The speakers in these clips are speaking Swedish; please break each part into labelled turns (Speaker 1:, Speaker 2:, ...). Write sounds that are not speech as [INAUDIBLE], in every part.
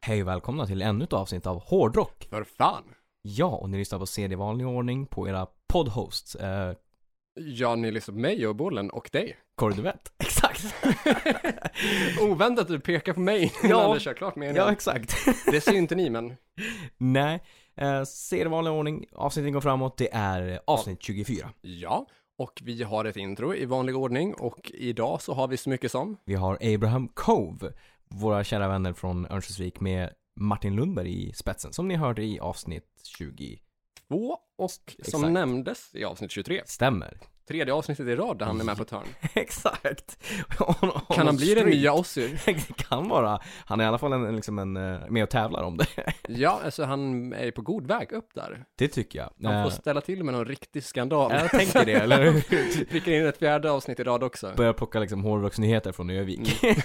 Speaker 1: Hej och välkomna till ännu ett avsnitt av Hårdrock.
Speaker 2: För fan!
Speaker 1: Ja, och ni lyssnar på CD i vanlig ordning på era podhosts. Eh,
Speaker 2: Ja, ni lyssnar på mig och bollen och dig. [LAUGHS]
Speaker 1: Korduvett. Exakt.
Speaker 2: Oväntat att du pekar på mig [LAUGHS] innan
Speaker 1: Ja.
Speaker 2: du kör klart
Speaker 1: [LAUGHS]
Speaker 2: meningen.
Speaker 1: ja, exakt. [LAUGHS]
Speaker 2: Det ser ju inte ni, men
Speaker 1: Nej, eh, CD i vanlig ordning. Avsnitten går framåt. Det är avsnitt 24.
Speaker 2: ja. Och vi har ett intro i vanlig ordning och idag så har vi så mycket som.
Speaker 1: Vi har Abraham Cove, våra kära vänner från Örnsköldsvik med Martin Lundberg i spetsen, som ni hörde i avsnitt 20.
Speaker 2: Två och som
Speaker 1: Exakt.
Speaker 2: nämndes i avsnitt 23.
Speaker 1: Stämmer. [LAUGHS]
Speaker 2: Tredje avsnittet i rad där han är med på ett hörn.
Speaker 1: Exakt. On- on
Speaker 2: Kan han
Speaker 1: a
Speaker 2: bli den
Speaker 1: streak.
Speaker 2: nya Ozzy?
Speaker 1: [LAUGHS] Det kan vara. Han är i alla fall en, liksom en, eh, med och tävlar om det.
Speaker 2: Ja, alltså han är ju på god väg upp där.
Speaker 1: Det tycker jag.
Speaker 2: Han
Speaker 1: Eh,
Speaker 2: får ställa till med någon riktig skandal.
Speaker 1: jag tänker det,
Speaker 2: [LAUGHS]
Speaker 1: eller hur? [LAUGHS]
Speaker 2: Prickar in ett fjärde avsnitt i rad också.
Speaker 1: Börjar plocka liksom hårdrocksnyheter från Ö-vik.
Speaker 2: Mm.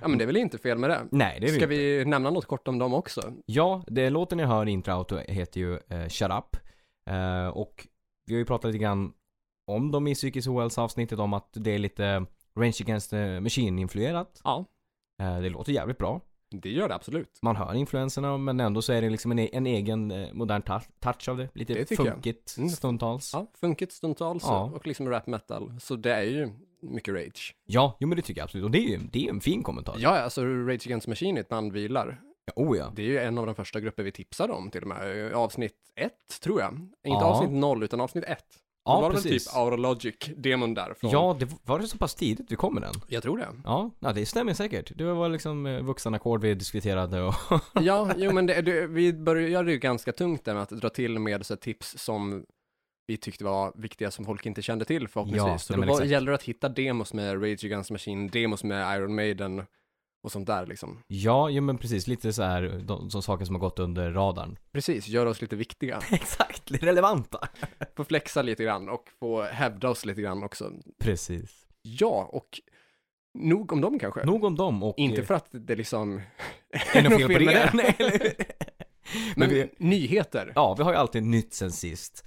Speaker 2: Ja, men det är väl inte fel med det.
Speaker 1: [LAUGHS] Nej, det är
Speaker 2: Ska
Speaker 1: vi...
Speaker 2: vi nämna något kort om dem också?
Speaker 1: Ja, det låten ni hör i introut heter ju eh, Shut Up. Eh, och vi har ju pratat lite grann om dem i psykisk ohälsa avsnittet om att det är lite Range Against the Machine-influerat.
Speaker 2: Ja.
Speaker 1: Eh, det låter jävligt bra.
Speaker 2: Det gör det absolut.
Speaker 1: Man hör influenserna men ändå så är det liksom en, e- en egen eh, modern ta- touch av det. Lite
Speaker 2: Det tycker jag.
Speaker 1: funkigt
Speaker 2: Mm.
Speaker 1: stundtals.
Speaker 2: Ja, funkigt stundtals
Speaker 1: Ja.
Speaker 2: och liksom rap metal. Så det är ju mycket rage.
Speaker 1: Ja, jo men det tycker jag absolut. Och det är ju det är ju en fin kommentar.
Speaker 2: Ja, alltså Rage Against the Machine är ett band vi gillar.
Speaker 1: Oh ja.
Speaker 2: Det är ju en av de första grupper vi tipsade om till och med. Avsnitt ett, tror jag. Inte
Speaker 1: Ja.
Speaker 2: avsnitt noll, utan avsnitt ett.
Speaker 1: Ja,
Speaker 2: det var väl
Speaker 1: precis.
Speaker 2: typ Aurologic, demon därifrån.
Speaker 1: Ja, det v- var det så pass tidigt vi kom med den?
Speaker 2: Jag tror det.
Speaker 1: Ja, ja det stämmer säkert. Det var liksom eh, vuxenackord vi diskuterade och [LAUGHS]
Speaker 2: [LAUGHS] Ja, jo men det, det, vi började ju ganska tungt där med att dra till med så här tips som vi tyckte var viktiga som folk inte kände till förhoppningsvis.
Speaker 1: Ja,
Speaker 2: så
Speaker 1: nej,
Speaker 2: då
Speaker 1: men
Speaker 2: var,
Speaker 1: exakt.
Speaker 2: gäller det att hitta demos med Rage Against the Machine, demos med Iron Maiden och sånt där liksom.
Speaker 1: ja, jo men precis lite så här de, de saker som har gått under radarn.
Speaker 2: Precis, göra oss lite viktiga.
Speaker 1: [LAUGHS] Exakt, relevanta.
Speaker 2: Få flexa lite grann och få hävda oss lite grann också.
Speaker 1: Precis.
Speaker 2: Ja, och nog om dem kanske.
Speaker 1: Nog om dem och... eh, [LAUGHS]
Speaker 2: Inte för att det liksom
Speaker 1: är något
Speaker 2: något
Speaker 1: fel
Speaker 2: fel
Speaker 1: på
Speaker 2: med
Speaker 1: det. [LAUGHS] Nej,
Speaker 2: det.
Speaker 1: eller hur? Men
Speaker 2: Men
Speaker 1: vi,
Speaker 2: nyheter.
Speaker 1: ja, vi har ju alltid nytt sen sist.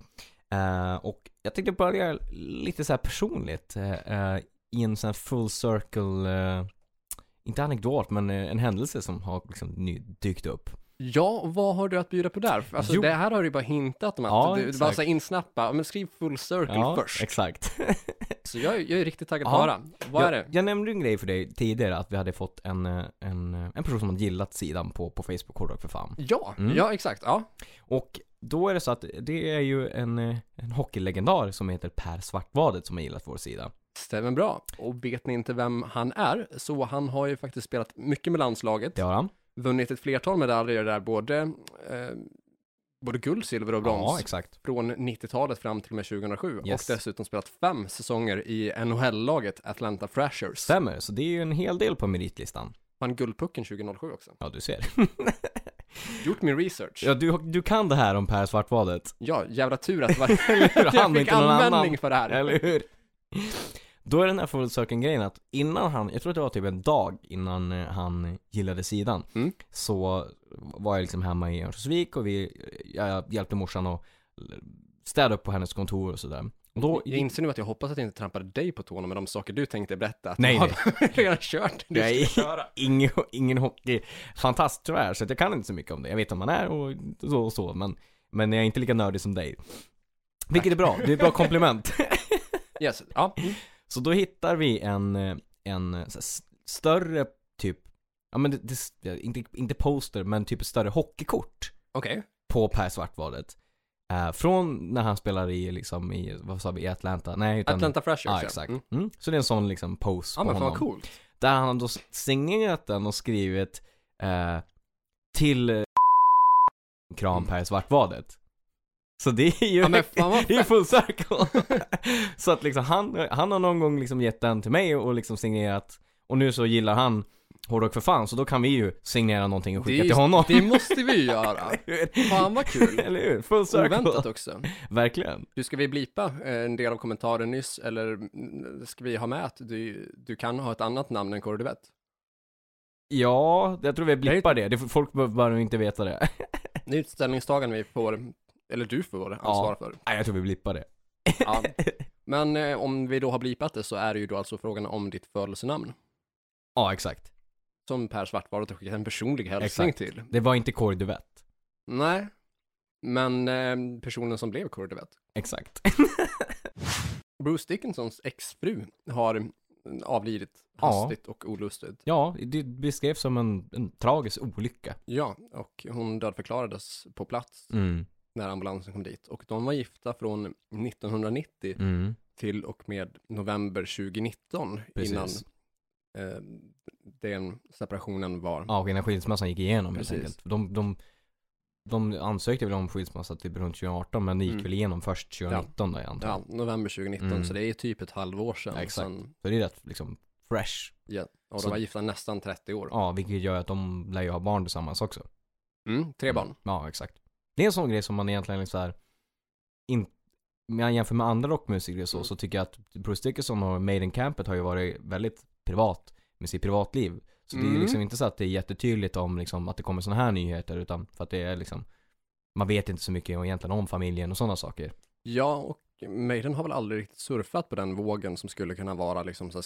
Speaker 1: Eh, och jag tänkte börja lite så här personligt eh, eh, i en sån här full circle, eh, inte anekdot, men eh, en händelse som har liksom ny, dykt upp.
Speaker 2: Ja, och vad har du att bjuda på där? För Alltså
Speaker 1: Jo.
Speaker 2: det här har du ju bara hintat om att
Speaker 1: Ja,
Speaker 2: du, du bara
Speaker 1: exakt.
Speaker 2: så här insnappa, men skriv full circle först.
Speaker 1: exakt. [LAUGHS]
Speaker 2: Så jag, är- jag är riktigt taggad
Speaker 1: Ja.
Speaker 2: på att höra. Vad är det?
Speaker 1: Jag, jag nämnde ju en grej för dig tidigare, att vi hade fått en, eh, en, eh, en person som hade gillat sidan på, på Facebook, Hårdrock för fan.
Speaker 2: Ja,
Speaker 1: Mm.
Speaker 2: ja exakt. Ja.
Speaker 1: Och då är det så att det är ju en, eh, en hockeylegendar som heter Per Svartvadet som har gillat vår sida.
Speaker 2: Stämmer bra. Och vet ni inte vem han är, så han har ju faktiskt spelat mycket med landslaget,
Speaker 1: Det har han.
Speaker 2: vunnit ett flertal medaljer där, både, eh, både guld, silver och brons.
Speaker 1: Ja, exakt.
Speaker 2: från 90-talet fram till och med 2007
Speaker 1: Yes.
Speaker 2: och dessutom spelat fem säsonger i NHL-laget Atlanta Thrashers.
Speaker 1: Stämmer, så det är ju en hel del på meritlistan.
Speaker 2: Vann Guldpucken 2007 också.
Speaker 1: Ja, du ser. [LAUGHS]
Speaker 2: Gjort min research.
Speaker 1: Ja, du, du kan det här om Per Svartvadet,
Speaker 2: Ja, jävla
Speaker 1: [LAUGHS]
Speaker 2: tur att, var...
Speaker 1: hur?
Speaker 2: att jag
Speaker 1: Han,
Speaker 2: fick
Speaker 1: inte någon annan.
Speaker 2: användning för det här.
Speaker 1: eller hur? Då är den här full circle-grejen att innan han, jag tror att det var typ en dag innan eh, han gillade sidan,
Speaker 2: Mm.
Speaker 1: så var jag liksom hemma i Örnsköldsvik och vi, jag hjälpte morsan att städa upp på hennes kontor och sådär. Och då,
Speaker 2: Jag inser nu att jag hoppas att jag inte trampade dig på tårna med de saker du tänkte berätta. Att
Speaker 1: Nej,
Speaker 2: jag [LAUGHS] har redan kört det
Speaker 1: Nej.
Speaker 2: du ska köra.
Speaker 1: [LAUGHS] ingen, ingen hockeyfantast tyvärr, så att jag kan inte så mycket om det. Jag vet om man är och så och så, men, men jag är inte lika nördig som dig. Vilket är bra, det är ett bra
Speaker 2: [LAUGHS]
Speaker 1: komplement. [LAUGHS]
Speaker 2: Yes. Ja. Mm.
Speaker 1: Så då hittar vi en, eh, en eh, så här s- större typ, ja men det, det, s- inte, inte poster, men typ ett större hockeykort
Speaker 2: Okej.
Speaker 1: på Per Svartvadet. Eh, från när han spelar i liksom i, vad sa vi, i Atlanta? Nej utan...
Speaker 2: Atlanta Thrashers.
Speaker 1: Ja exakt.
Speaker 2: Mm.
Speaker 1: Mm. Så det är en sån liksom pose
Speaker 2: Ja,
Speaker 1: på
Speaker 2: men fan
Speaker 1: honom.
Speaker 2: vad coolt.
Speaker 1: Där han har då signerat den och skrivit eh, till
Speaker 2: Mm.
Speaker 1: eh, Kram Per Svartvadet. Så det är ju [LAUGHS]
Speaker 2: Ja, men fan vad
Speaker 1: det är ju full circle. [LAUGHS] så att liksom han, han har någon gång liksom gett den till mig och liksom signerat. Och nu så gillar han Hårdrock för fan, så då kan vi ju signera någonting och
Speaker 2: Det är
Speaker 1: skicka
Speaker 2: ju-
Speaker 1: till honom.
Speaker 2: Det måste vi
Speaker 1: [LAUGHS]
Speaker 2: ju göra. Fan vad kul.
Speaker 1: Eller hur? Full circle.
Speaker 2: Oväntat också.
Speaker 1: Verkligen.
Speaker 2: Du, ska vi blipa eh, en del av kommentaren nyss, eller mm, ska vi ha med att du, du kan ha ett annat namn än korvett?
Speaker 1: Ja, jag tror vi blippar det. det folk behöver inte veta det. [LAUGHS]
Speaker 2: Det är ett ställningstagande vi får, eller du får ansvara för.
Speaker 1: Nej, jag tror vi blippar det.
Speaker 2: Ja. Men eh, om vi då har blipat det så är det ju då alltså frågan om ditt födelsenamn.
Speaker 1: [LAUGHS] Ja, exakt.
Speaker 2: som Per Svartvarot har skickat en personlig hälsning
Speaker 1: Exakt.
Speaker 2: till.
Speaker 1: Det var inte Kåre Duvett.
Speaker 2: Nej, men eh, personen som blev Kåre Duvett.
Speaker 1: Exakt. [LAUGHS]
Speaker 2: Bruce Dickinsons exfru har avlidit
Speaker 1: Ja.
Speaker 2: hastigt och olustigt.
Speaker 1: ja, det beskrevs som en, en tragisk olycka.
Speaker 2: Ja, och hon dödförklarades på plats
Speaker 1: Mm.
Speaker 2: när ambulansen kom dit. Och de var gifta från 1990
Speaker 1: Mm.
Speaker 2: till och med november 2019 innan
Speaker 1: Precis.
Speaker 2: eh, den separationen var.
Speaker 1: Ja, och innan skilsmässan gick igenom helt
Speaker 2: Precis.
Speaker 1: enkelt. De, de, de ansökte väl om skilsmässa typ runt 2018 men det gick
Speaker 2: Mm.
Speaker 1: väl igenom först 2019 då jag antar.
Speaker 2: Ja, november 2019,
Speaker 1: Mm.
Speaker 2: så det är typ ett halvår sedan.
Speaker 1: Ja, exakt.
Speaker 2: Sen,
Speaker 1: Så det är rätt liksom fresh.
Speaker 2: ja, och
Speaker 1: Så-
Speaker 2: de var gifta nästan 30 år.
Speaker 1: Ja, vilket gör att de lär ju ha barn tillsammans också.
Speaker 2: Mm, tre barn.
Speaker 1: Ja, exakt. Det är en sån grej som man egentligen liksom så här, in, om jag jämför med andra rockmusiker och så,
Speaker 2: Mm.
Speaker 1: så tycker jag att Bruce Dickinson och Maiden Campet har ju varit väldigt privat med sitt privatliv. Så det är
Speaker 2: Mm.
Speaker 1: ju liksom inte så att det är jättetydligt om liksom att det kommer såna här nyheter utan för att det är liksom man vet inte så mycket egentligen om familjen och sådana saker.
Speaker 2: Ja, och Maiden har väl aldrig riktigt surfat på den vågen som skulle kunna vara liksom så här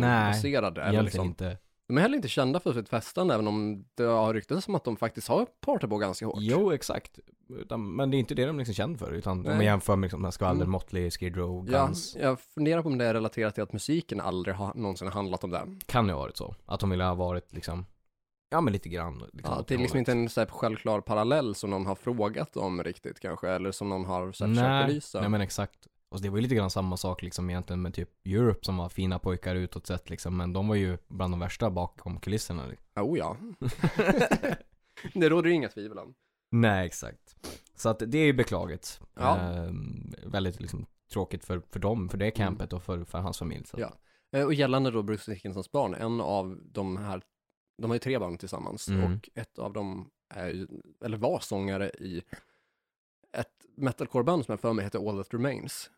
Speaker 2: skandalbaserad. eller
Speaker 1: Egentligen
Speaker 2: liksom.
Speaker 1: inte.
Speaker 2: De är heller inte kända för sitt festande, även om det har ryktats om att de faktiskt har partat på ganska hårt.
Speaker 1: Jo, exakt. Utan, men det är inte det de liksom är känd för utan om
Speaker 2: Nej.
Speaker 1: man jämför med liksom, den här skvaller,
Speaker 2: Mm.
Speaker 1: Motley, Skid Row,
Speaker 2: Ja,
Speaker 1: Guns.
Speaker 2: jag funderar på om det är relaterat till att musiken aldrig har någonsin handlat om det.
Speaker 1: kan ju ha varit så. Att de ville ha varit liksom, ja men lite grann. Liksom,
Speaker 2: Ja,
Speaker 1: åt
Speaker 2: det är liksom
Speaker 1: hållet.
Speaker 2: inte en så här självklar parallell som någon har frågat om riktigt kanske, eller som någon har så här, försökt
Speaker 1: Nej,
Speaker 2: belysa.
Speaker 1: nej men exakt. Och det var ju lite grann samma sak liksom egentligen med typ Europe som var fina pojkar utåt sett liksom. Men de var ju bland de värsta bakom kulisserna.
Speaker 2: [LAUGHS]
Speaker 1: Liksom.
Speaker 2: Oh, ja. det råder ju inga tvivel om.
Speaker 1: nej exakt. Så att det är ju beklagligt.
Speaker 2: Ja. Mm.
Speaker 1: Ehm, väldigt liksom tråkigt för, för dem, för det campet och för, för hans familj. Så. att-
Speaker 2: Ja. Eh, Och gällande då Bruce Dickinsons barn, en av de här, de har ju tre barn tillsammans
Speaker 1: Mm.
Speaker 2: och ett av dem är ju, eller var sångare i ett metalcoreband som jag för mig heter All That Remains.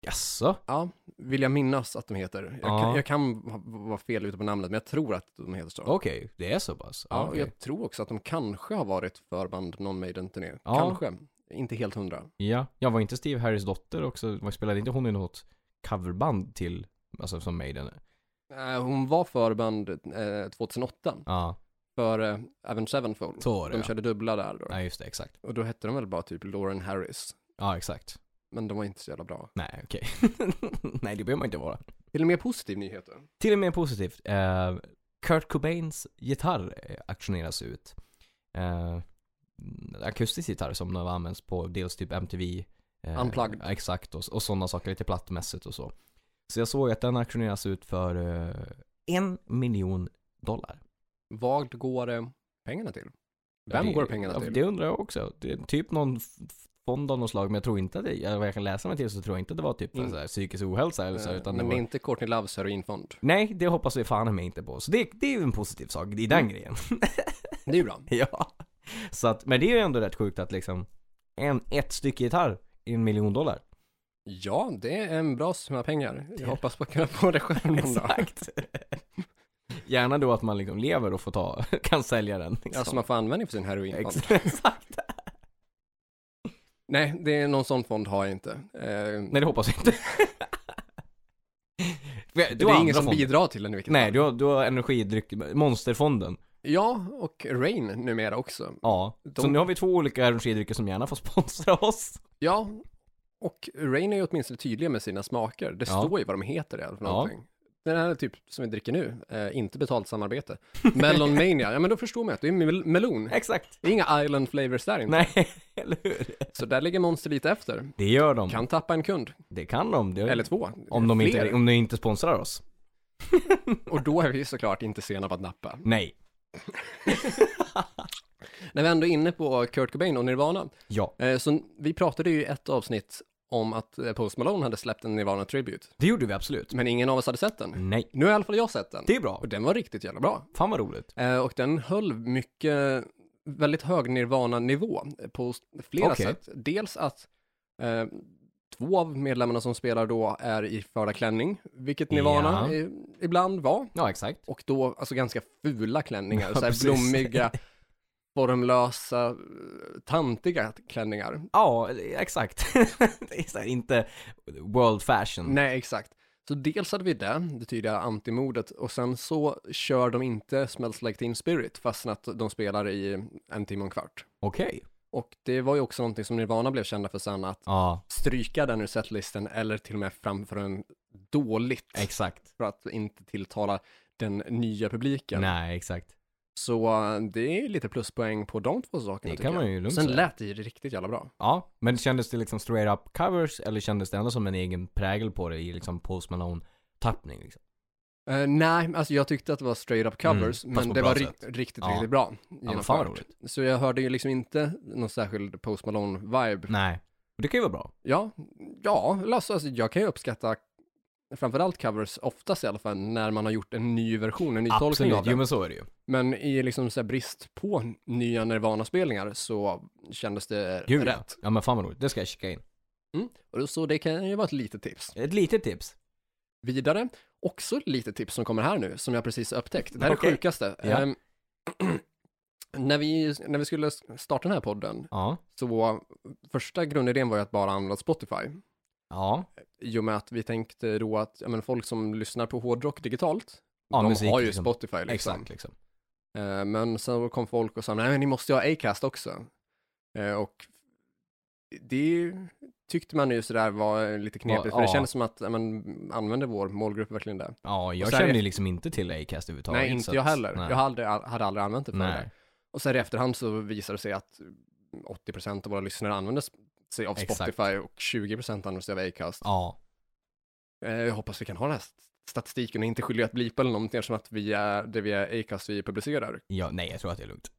Speaker 1: Jaså?
Speaker 2: Ja, vill jag minnas att de heter. Jag,
Speaker 1: Ja.
Speaker 2: kan, jag kan ha- vara fel ute på namnet, men jag tror att de heter så.
Speaker 1: Okej, det är så pass?
Speaker 2: Ja, och
Speaker 1: okej.
Speaker 2: jag tror också att de kanske har varit förband någon Maiden-turné.
Speaker 1: Ja.
Speaker 2: Kanske, inte helt hundra.
Speaker 1: ja. Jag var inte Steve Harris dotter också? Vad Spelade inte hon i något coverband till, alltså som Maiden?
Speaker 2: Eh, Hon var förband eh, 2008
Speaker 1: Ja,
Speaker 2: för eh, Avenged Sevenfold.
Speaker 1: så var det
Speaker 2: De
Speaker 1: ja.
Speaker 2: körde dubbla där då.
Speaker 1: Nej just det, exakt.
Speaker 2: Och då hette de väl bara typ Lauren Harris.
Speaker 1: Ja exakt.
Speaker 2: Men de var inte så jävla bra.
Speaker 1: Nej okej. [LAUGHS] Nej det behöver man inte vara.
Speaker 2: Till och med positiv nyhet då.
Speaker 1: Till och med positivt. Eh, Kurt Cobains gitarr eh, auktioneras ut. Eh, akustisk gitarr som har använts på dels typ MTV. eh,
Speaker 2: Unplugged.
Speaker 1: Exakt och, och sådana saker, lite plattmässigt och så. Så jag såg att den auktioneras ut för eh, en miljon dollar.
Speaker 2: Vad går eh, pengarna till? Vem
Speaker 1: Ja, det-
Speaker 2: går pengarna
Speaker 1: ja,
Speaker 2: till?
Speaker 1: Det undrar jag också. Det är typ någon f- fond av något slag, men jag tror inte att det, eller vad jag kan läsa mig till så tror jag inte det var typ
Speaker 2: Mm.
Speaker 1: så här, psykisk ohälsa eller så,
Speaker 2: Eh,
Speaker 1: utan det
Speaker 2: men
Speaker 1: var...
Speaker 2: det är inte Courtney Loves heroinfond.
Speaker 1: Nej, det hoppas vi fan mig inte på. Så det, det är ju en positiv sak i
Speaker 2: Mm.
Speaker 1: den grejen. [LAUGHS]
Speaker 2: Det är ju bra.
Speaker 1: ja. Så att, men det är ju ändå rätt sjukt att liksom, en, ett stycke gitarr i en miljon dollar.
Speaker 2: Ja, det är en bra summa pengar.
Speaker 1: Det-
Speaker 2: Jag hoppas på att kunna få det själv någon dag.
Speaker 1: Exakt. [LAUGHS] Gärna då att man liksom lever och får ta, [LAUGHS] kan sälja den. Liksom.
Speaker 2: Alltså man får användning för sin heroinfond.
Speaker 1: Ex- [LAUGHS] Exakt.
Speaker 2: Nej, det är någon sån fond har jag inte. Eh,
Speaker 1: Nej, det hoppas
Speaker 2: [LAUGHS]
Speaker 1: jag inte. Du har
Speaker 2: det är
Speaker 1: andra
Speaker 2: ingen som
Speaker 1: fonder.
Speaker 2: bidrar till den i vilket
Speaker 1: Nej,
Speaker 2: fall.
Speaker 1: du har, du har energidryck, Monsterfonden.
Speaker 2: Ja, och Rain numera också.
Speaker 1: Ja. Så
Speaker 2: De-
Speaker 1: nu har vi två olika energidrycker som gärna får sponsra oss. [LAUGHS]
Speaker 2: Ja, och Rain är ju åtminstone tydliga med sina smaker. Det
Speaker 1: Ja.
Speaker 2: står ju vad de heter i alla fall.
Speaker 1: Ja.
Speaker 2: någonting. Den här typ som vi dricker nu, eh, inte betalt samarbete. [LAUGHS] Melon Mania, ja men då förstår man att det är mel- melon.
Speaker 1: Exakt.
Speaker 2: Det är inga island flavors där inte.
Speaker 1: Nej, [LAUGHS] eller hur?
Speaker 2: Så där ligger Monster lite efter.
Speaker 1: Det gör de.
Speaker 2: Kan tappa en kund,
Speaker 1: Det kan de. Det,
Speaker 2: eller två.
Speaker 1: Mm. om, de
Speaker 2: Fler.
Speaker 1: inte, om de inte sponsrar oss.
Speaker 2: Och då är vi såklart inte sena på att nappa.
Speaker 1: Nej.
Speaker 2: När vi ändå är inne på Kurt Cobain och Nirvana,
Speaker 1: Ja.
Speaker 2: eh, så vi pratade ju i ett avsnitt om att eh, Post Malone hade släppt en Nirvana Tribute,
Speaker 1: Det gjorde vi absolut.
Speaker 2: men ingen av oss hade sett den.
Speaker 1: Nej.
Speaker 2: Nu har i alla fall jag sett den.
Speaker 1: Det är bra.
Speaker 2: Och den var riktigt jävla bra.
Speaker 1: Fan vad roligt.
Speaker 2: Eh, Och den höll mycket, väldigt hög nirvana-nivå på s- flera
Speaker 1: Okej.
Speaker 2: sätt. Dels att eh, två av medlemmarna som spelar då är i förda klänning, vilket nirvana
Speaker 1: Ja.
Speaker 2: eh, ibland var.
Speaker 1: Ja, exakt.
Speaker 2: Och då, alltså ganska fula klänningar,
Speaker 1: [LAUGHS] Ja,
Speaker 2: så här
Speaker 1: precis. [LAUGHS]
Speaker 2: blommiga, formlösa, eh, tantiga klänningar.
Speaker 1: [LAUGHS] Ja, exakt. det är så här, inte world fashion.
Speaker 2: Nej, exakt. Så dels hade vi det, det tydliga antimodet, och sen så kör de inte Smells Like Teen Spirit fastän att de spelar i en timme och en kvart.
Speaker 1: Okej.
Speaker 2: Och det var ju också någonting som Nirvana blev kända för sen, att
Speaker 1: Ja,
Speaker 2: stryka den ur setlisten eller till och med framför den dåligt
Speaker 1: exakt.
Speaker 2: för att inte tilltala den nya publiken.
Speaker 1: Nej, exakt.
Speaker 2: Så eh, det är lite pluspoäng på de två sakerna
Speaker 1: Det
Speaker 2: tycker
Speaker 1: kan man ju
Speaker 2: jag.
Speaker 1: lugnt
Speaker 2: Sen
Speaker 1: säga.
Speaker 2: lät det ju riktigt jävla bra.
Speaker 1: Ja, men kändes det liksom straight up covers eller kändes det ändå som en egen prägel på det i liksom Post Malone-tappning? Liksom?
Speaker 2: Eh, nej, alltså jag tyckte att det var straight up covers,
Speaker 1: Mm, fast
Speaker 2: men
Speaker 1: på
Speaker 2: det
Speaker 1: bra
Speaker 2: var ri-
Speaker 1: sätt.
Speaker 2: riktigt, riktigt
Speaker 1: Ja.
Speaker 2: bra.
Speaker 1: vad
Speaker 2: genomfört.
Speaker 1: fan vad roligt.
Speaker 2: Så jag hörde ju liksom inte någon särskild Post Malone-vibe.
Speaker 1: Nej. Och det kan ju vara bra.
Speaker 2: Ja, ja, alltså alltså, jag kan ju uppskatta framförallt covers oftast i alla fall när man har gjort en ny version, en ny tolkning av
Speaker 1: Absolut,
Speaker 2: det.
Speaker 1: jo men så är det ju.
Speaker 2: Men i liksom så här brist på nya Nirvana-spelningar så kändes det
Speaker 1: Gud ja.
Speaker 2: rätt.
Speaker 1: ja. men fan vad roligt, det ska jag kika in.
Speaker 2: Och så det kan ju vara ett litet tips.
Speaker 1: Ett litet tips.
Speaker 2: Vidare, också ett litet tips som kommer här nu, som jag precis har upptäckt. Det här är det
Speaker 1: Okej.
Speaker 2: sjukaste.
Speaker 1: Ja.
Speaker 2: Ehm, [CLEARS THROAT] när, vi, när vi skulle starta den här podden,
Speaker 1: Ja.
Speaker 2: så första grundidén var ju att bara använda Spotify.
Speaker 1: Ja.
Speaker 2: I och med att vi tänkte då att ja, men folk som lyssnar på hårdrock digitalt,
Speaker 1: Ja,
Speaker 2: de
Speaker 1: musik,
Speaker 2: har ju
Speaker 1: liksom.
Speaker 2: Spotify liksom.
Speaker 1: Exakt liksom.
Speaker 2: Eh, Men sen kom folk och sa, nej men ni måste ju ha Acast också. Eh, Och det tyckte man ju sådär var lite knepigt, för det
Speaker 1: Ja.
Speaker 2: kändes som att, ja, men använder vår målgrupp verkligen det?
Speaker 1: Ja, jag
Speaker 2: Och så här
Speaker 1: känner ju
Speaker 2: är-
Speaker 1: liksom inte till Acast överhuvudtaget.
Speaker 2: nej,
Speaker 1: så
Speaker 2: inte
Speaker 1: att-
Speaker 2: jag heller.
Speaker 1: Nej.
Speaker 2: Jag hade aldrig, hade aldrig använt det för det.
Speaker 1: Nej.
Speaker 2: där. Och sen i efterhand så visade det sig att 80% av våra lyssnare använde s- sig av
Speaker 1: Exakt.
Speaker 2: Spotify och 20% använde sig av Acast.
Speaker 1: Ja.
Speaker 2: Eh, Jag hoppas vi kan ha den här st- statistiken och inte skyldiga att blipa eller någonting eftersom att vi är, det vi är Acast vi publicerar
Speaker 1: ja. Nej, jag tror att det är lugnt.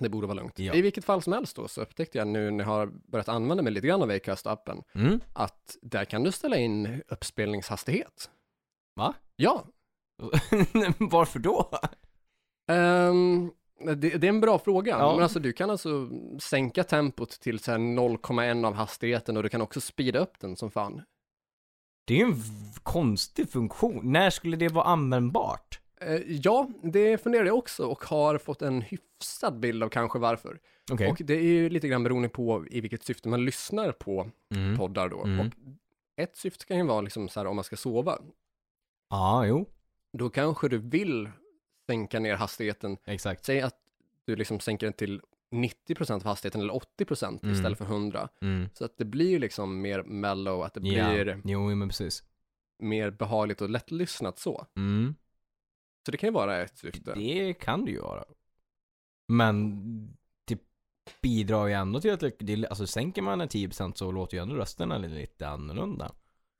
Speaker 2: Det borde vara lugnt.
Speaker 1: Ja.
Speaker 2: I vilket fall som helst då så upptäckte jag nu när jag har börjat använda mig lite grann av Acast-appen
Speaker 1: Mm. [LAUGHS]
Speaker 2: att där kan du ställa in uppspelningshastighet.
Speaker 1: Va?
Speaker 2: Ja.
Speaker 1: Varför då?
Speaker 2: Ehm, det, det är en bra fråga.
Speaker 1: Ja.
Speaker 2: Men alltså du kan alltså sänka tempot till så här 0,1 av hastigheten och du kan också speeda upp den som fan.
Speaker 1: Det är ju en v- konstig funktion. När skulle det vara användbart?
Speaker 2: Eh, ja, det funderar jag också och har fått en hyfsad bild av kanske varför.
Speaker 1: Okej.
Speaker 2: Och det är ju lite grann beroende på i vilket syfte man lyssnar på
Speaker 1: Mm.
Speaker 2: poddar då.
Speaker 1: Mm.
Speaker 2: Och ett syfte kan ju vara liksom så här om man ska sova.
Speaker 1: Ja, jo.
Speaker 2: då kanske du vill sänka ner hastigheten.
Speaker 1: Exakt.
Speaker 2: Säg att du liksom sänker den till 90% av hastigheten eller 80%
Speaker 1: Mm.
Speaker 2: istället för 100.
Speaker 1: Mm.
Speaker 2: Så att det blir ju liksom mer mellow, att det
Speaker 1: Ja.
Speaker 2: blir
Speaker 1: Jo, men precis.
Speaker 2: mer behagligt och lättlyssnat så.
Speaker 1: Mm.
Speaker 2: Så det kan ju vara ett syfte.
Speaker 1: Det kan det ju vara. Men det bidrar ju ändå till att, det- det, alltså sänker man en 10% så låter ju ändå rösterna lite annorlunda.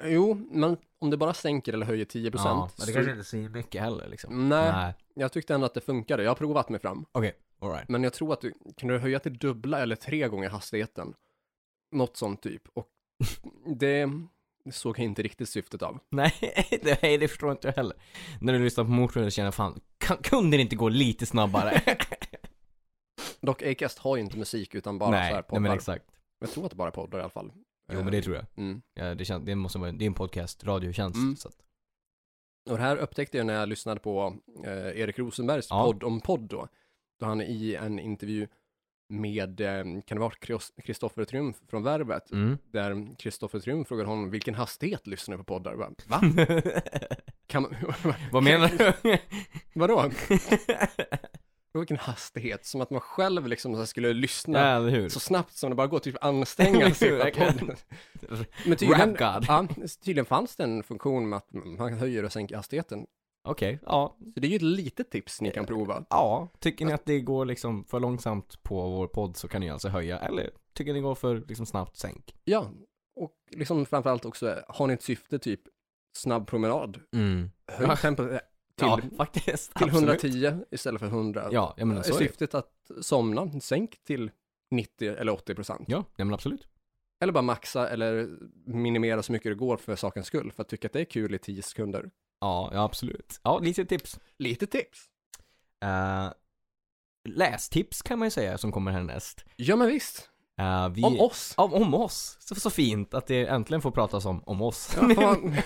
Speaker 2: Jo, men om det bara sänker eller höjer 10%
Speaker 1: men
Speaker 2: så...
Speaker 1: det kanske inte säger mycket heller liksom.
Speaker 2: Mm. Nej, jag tyckte ändå att det funkade. Jag har provat mig fram.
Speaker 1: Okej, alright. [LAUGHS]
Speaker 2: Men jag tror att du kan du höja till dubbla eller tre gånger hastigheten. Något sånt typ. Och [LAUGHS] det såg jag inte riktigt syftet av.
Speaker 1: Nej, det, nej, det förstår inte jag heller. När du lyssnar på motorn känner jag fan, kan, kunde det inte gå lite snabbare?
Speaker 2: Dock, Acast har ju inte musik utan [LAUGHS] bara så här
Speaker 1: [LAUGHS] nej, nej,
Speaker 2: poddar.
Speaker 1: men exakt.
Speaker 2: Jag tror att det bara är poddar i alla fall.
Speaker 1: Jo men det tror jag.
Speaker 2: Mm.
Speaker 1: Ja, det, känns, det, måste vara, det är en podcast, radiotjänst.
Speaker 2: Mm.
Speaker 1: Så att,
Speaker 2: Och det här upptäckte jag när jag lyssnade på eh, Erik Rosenbergs
Speaker 1: Ja.
Speaker 2: podd om podd då. Då han i en intervju med, eh, kan det vara Kristoffer Triumf från Värvet?
Speaker 1: mm. [LAUGHS]
Speaker 2: Där Kristoffer Triumf frågade honom vilken hastighet lyssnar du på poddar? Jag bara, Va? Kan man... [LAUGHS]
Speaker 1: Vad menar du?
Speaker 2: Vadå? [LAUGHS]
Speaker 1: [LAUGHS]
Speaker 2: Vilken hastighet? Som att man själv liksom så här skulle lyssna
Speaker 1: ja, eller hur?
Speaker 2: så snabbt som det bara går, typ anstränga sig på
Speaker 1: Verkligen.
Speaker 2: podden. Men tydligen,
Speaker 1: Rap God.
Speaker 2: ja, tydligen fanns det en funktion med att man höjer och sänker hastigheten.
Speaker 1: Okej, ja,
Speaker 2: Så det är ju ett litet tips ni kan
Speaker 1: Eh,
Speaker 2: prova.
Speaker 1: Ja, tycker ni att det går liksom för långsamt på vår podd så kan ni alltså höja, eller tycker ni det går för liksom snabbt, sänk.
Speaker 2: Ja, och liksom framförallt också, har ni ett syfte typ snabb promenad?
Speaker 1: Mm.
Speaker 2: Höj
Speaker 1: Ja.
Speaker 2: tempot eh, till,
Speaker 1: [LAUGHS] ja, faktiskt.
Speaker 2: till
Speaker 1: absolut.
Speaker 2: 110 istället för 100.
Speaker 1: Ja, jag menar
Speaker 2: Är
Speaker 1: så är det.
Speaker 2: syftet att somna, sänk till 90 eller 80 procent.
Speaker 1: Ja, ja men absolut.
Speaker 2: Eller bara maxa eller minimera så mycket det går för sakens skull, för att tycka att det är kul i 10 sekunder.
Speaker 1: Ja, ja absolut. Ja, lite tips.
Speaker 2: Lite tips.
Speaker 1: Eh, lästips kan man ju säga som kommer härnäst.
Speaker 2: Ja, men visst.
Speaker 1: Eh, vi...
Speaker 2: Om oss.
Speaker 1: Om, om oss. Så, så fint att det äntligen får pratas om, om oss. [LAUGHS]
Speaker 2: Ja, fan,